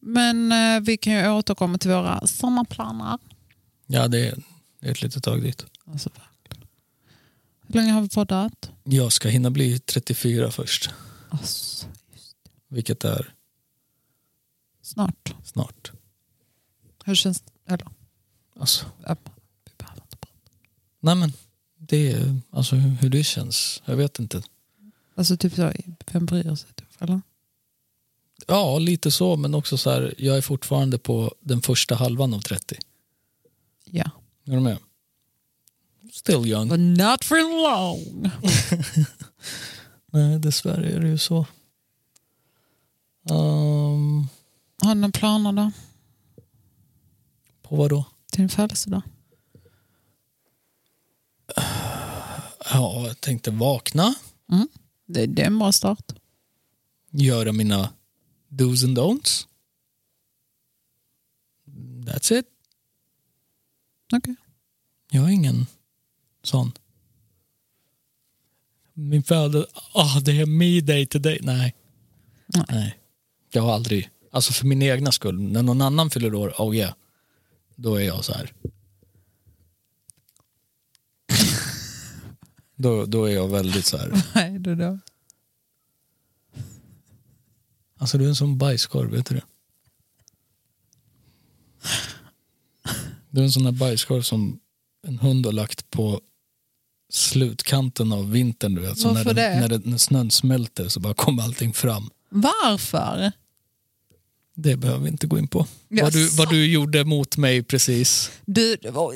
Men eh, vi kan ju återkomma till våra sommarplaner.
Ja, det är, det är ett litet tag dit.
Alltså, verkligen. Hur länge har vi poddat?
Jag ska hinna bli 34 först,
Alltså, just det.
vilket är
snart.
snart.
Hur känns det? Eller,
Alltså,
ja, vi behöver inte prata.
nej men, det är, alltså, hur, hur det känns, jag vet inte.
Alltså typ så, vem bryr sig? Typ, eller?
Ja, lite så, men också så här, jag är fortfarande på den första halvan av 30.
Ja.
Är du med? Still young.
But not for long.
Nej, dessvärre är det ju så. Ehm,
Har du några planer då?
på vad då?
Till din födelsedag?
Ja, jag tänkte vakna,
Det, det är en bra start.
göra mina do's and don'ts. That's it.
Okej.
Jag har ingen sån. Min födelsedag, ah det är me day today. Nej.
Nej.
Jag har aldrig, alltså för min egna skull, när någon annan fyller år, oh yeah, då är jag så här. då, då är jag väldigt så här.
Vad är det då?
Alltså du är en sån bajskorv, vet du det? Du är en sån där bajskorv som en hund har lagt på slutkanten av vintern. Du vet. Så när,
Varför
den,
det?
När, den, när snön smälter så bara kommer allting fram.
Varför?
Det behöver vi inte gå in på.
Ja,
vad, du, vad
sant.
du gjorde mot mig precis.
Du, det var-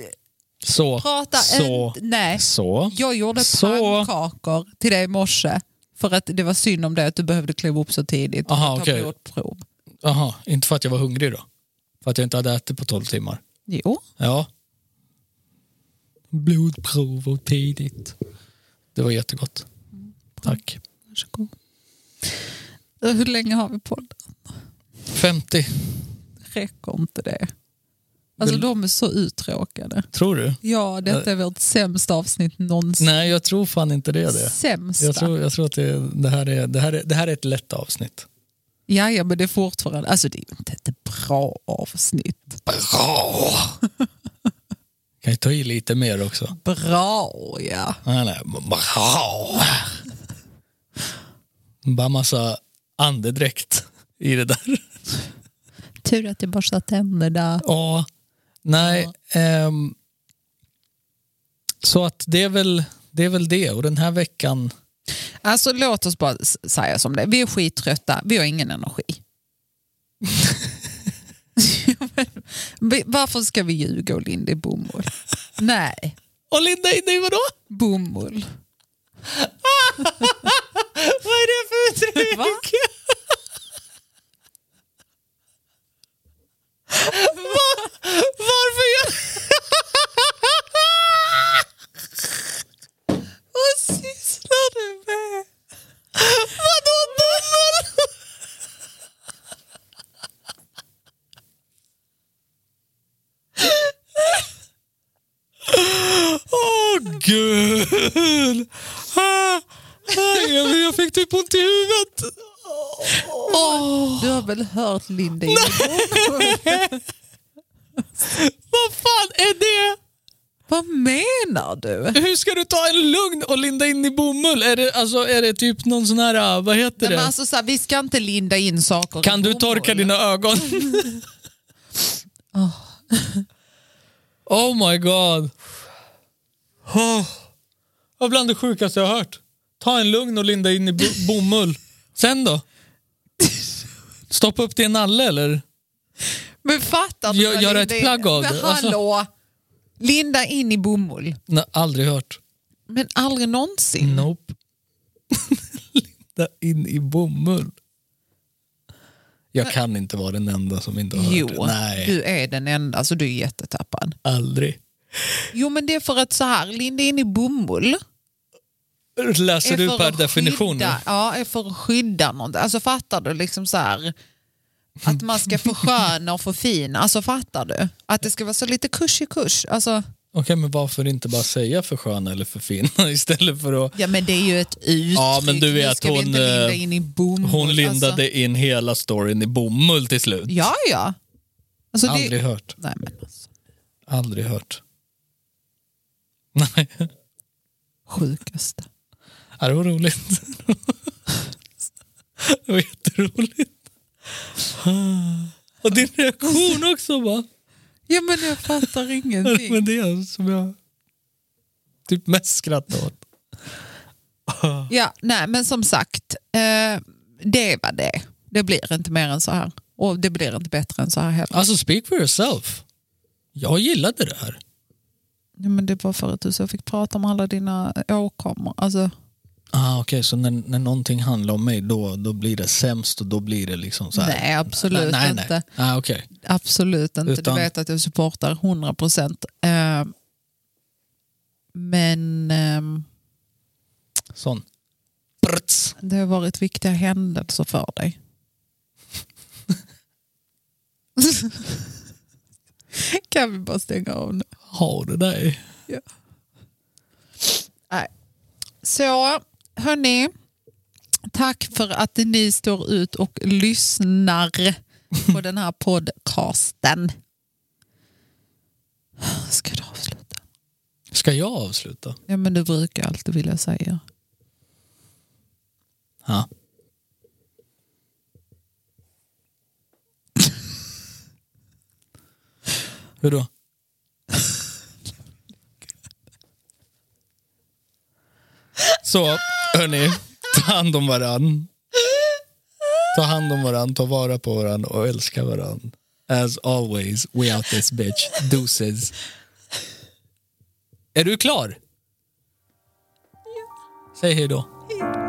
Så,
Prata
så,
inte. Nej.
så.
Jag gjorde
Så.
pannkakor till dig i morse. För att det var synd om dig att du behövde kliva upp så tidigt och
Aha,
ta
okej.
blodprov.
Aha, inte för att jag var hungrig då? För att jag inte hade ätit på 12 timmar?
Jo.
Ja. Blodprov och tidigt. Det var jättegott. Tack.
Varsågod. Hur länge har vi podden?
50,
Räcker inte det? Alltså
Vill-
de är så uttråkade.
tror du?
Ja, detta är vårt sämsta avsnitt någonsin.
Nej, jag tror fan inte det är det.
Sämsta.
Jag tror, jag tror att det, det, här är, det, här är, det här är ett lätt avsnitt.
Ja, ja, men det är fortfarande... Alltså det är ju inte ett bra avsnitt.
Bra! Kan jag ta i lite mer också?
Bra, ja.
Nej, nej. Bra! Bara massa andedräkt i det där.
Tur att jag borstar tänderna.
Ja, nej. ehm, så att det är, väl, det är väl det. Och den här veckan,
Alltså låt oss bara s- säga som det är. Vi är skittrötta, vi har ingen energi. Men Varför ska vi ljuga och Linda är bomull? Nej,
och Linda inne i vadå?
bomull.
Vad är det för uttryck?
Va?
Varför gör...
Vad sysslar du med?
Vadå bomull? Åh gud! Ah, ah, jag- Jag fick typ ont i huvudet.
Du har väl hört Linda i bomull?
Vad fan är det?
Vad menar du?
Hur ska du ta en lugn och linda in i bomull? Är det, alltså, är det typ någon sån här, ah, vad heter
Nej, men
det?
alltså, så här, vi ska inte linda in saker i
Kan du
bomull.
torka dina ögon? oh my god. Oh. Det var bland det sjukaste jag har hört. Ta en lugn och linda in i bo- bomull. Sen då? Stoppa upp det i en nalle eller?
Men fattar du
Gör-
vad
gör
Linda
ett
är-
plagg av
Men
det, alltså.
hallå! Linda in i bomull.
Nej, aldrig hört.
Men aldrig någonsin.
Nope. linda in i bomull. Jag kan inte vara den enda som inte har
Jo,
hört det. Nej,
du är den enda, så du är jättetappad.
aldrig.
Jo, men det är för att så här, linda in i bomull.
Läser
är
du
för
per
att
definition? nu?
Skydda, ja, är för att skydda något. Alltså fattar du liksom så här att man ska försköna och förfina. Alltså fattar du? Att det ska vara så lite kurs i kurs. Alltså,
Okej, men varför inte bara säga för skön eller för fin istället för att
ja, men det är ju ett uttryck.
Ja, men du
Nu
vet,
ska vi
hon,
inte linda
eh,
in i bomull.
hon lindade
Alltså,
in hela storyn i bomull till slut.
ja, ja. Alltså, det-
Aldrig hört.
Nej, men alltså,
Aldrig hört. Nej,
sjukaste.
Ja, det var roligt. Det var jätteroligt. Och din reaktion också va?
Ja, men jag fattar
Det
ingenting.
var det som jag typ mest skrattade åt.
Ja, nej, men som sagt, eh, det var det. Det blir inte mer än så här. Och det blir inte bättre än så här heller.
Alltså speak for yourself. Jag gillade det här.
Ja, men det var för att du så fick prata om alla dina åkommor. Alltså,
Ah, Okej, så när, när någonting handlar om mig då, då blir det sämst och då blir det liksom så här.
nej, absolut
nej, nej.
inte.
Ah, okej.
Absolut inte.
Utan-
Du vet att jag supportar 100 procent. Eh, men ehm,
Sån. Prts.
det har varit viktiga händelser för dig. kan vi bara stänga av nu?
Har du dig?
Nej. Så, hörni. Tack för att ni står ut och lyssnar på den här podcasten. Ska du avsluta?
Ska jag avsluta?
Ja, men du brukar alltid vilja säga.
Ja. Hur då? Så, hörni. Ta hand om varann. Ta hand om varann, ta vara på varann och älska varann. As always, we out this bitch. Deuces. Är du klar? Säg hej då.
Hej.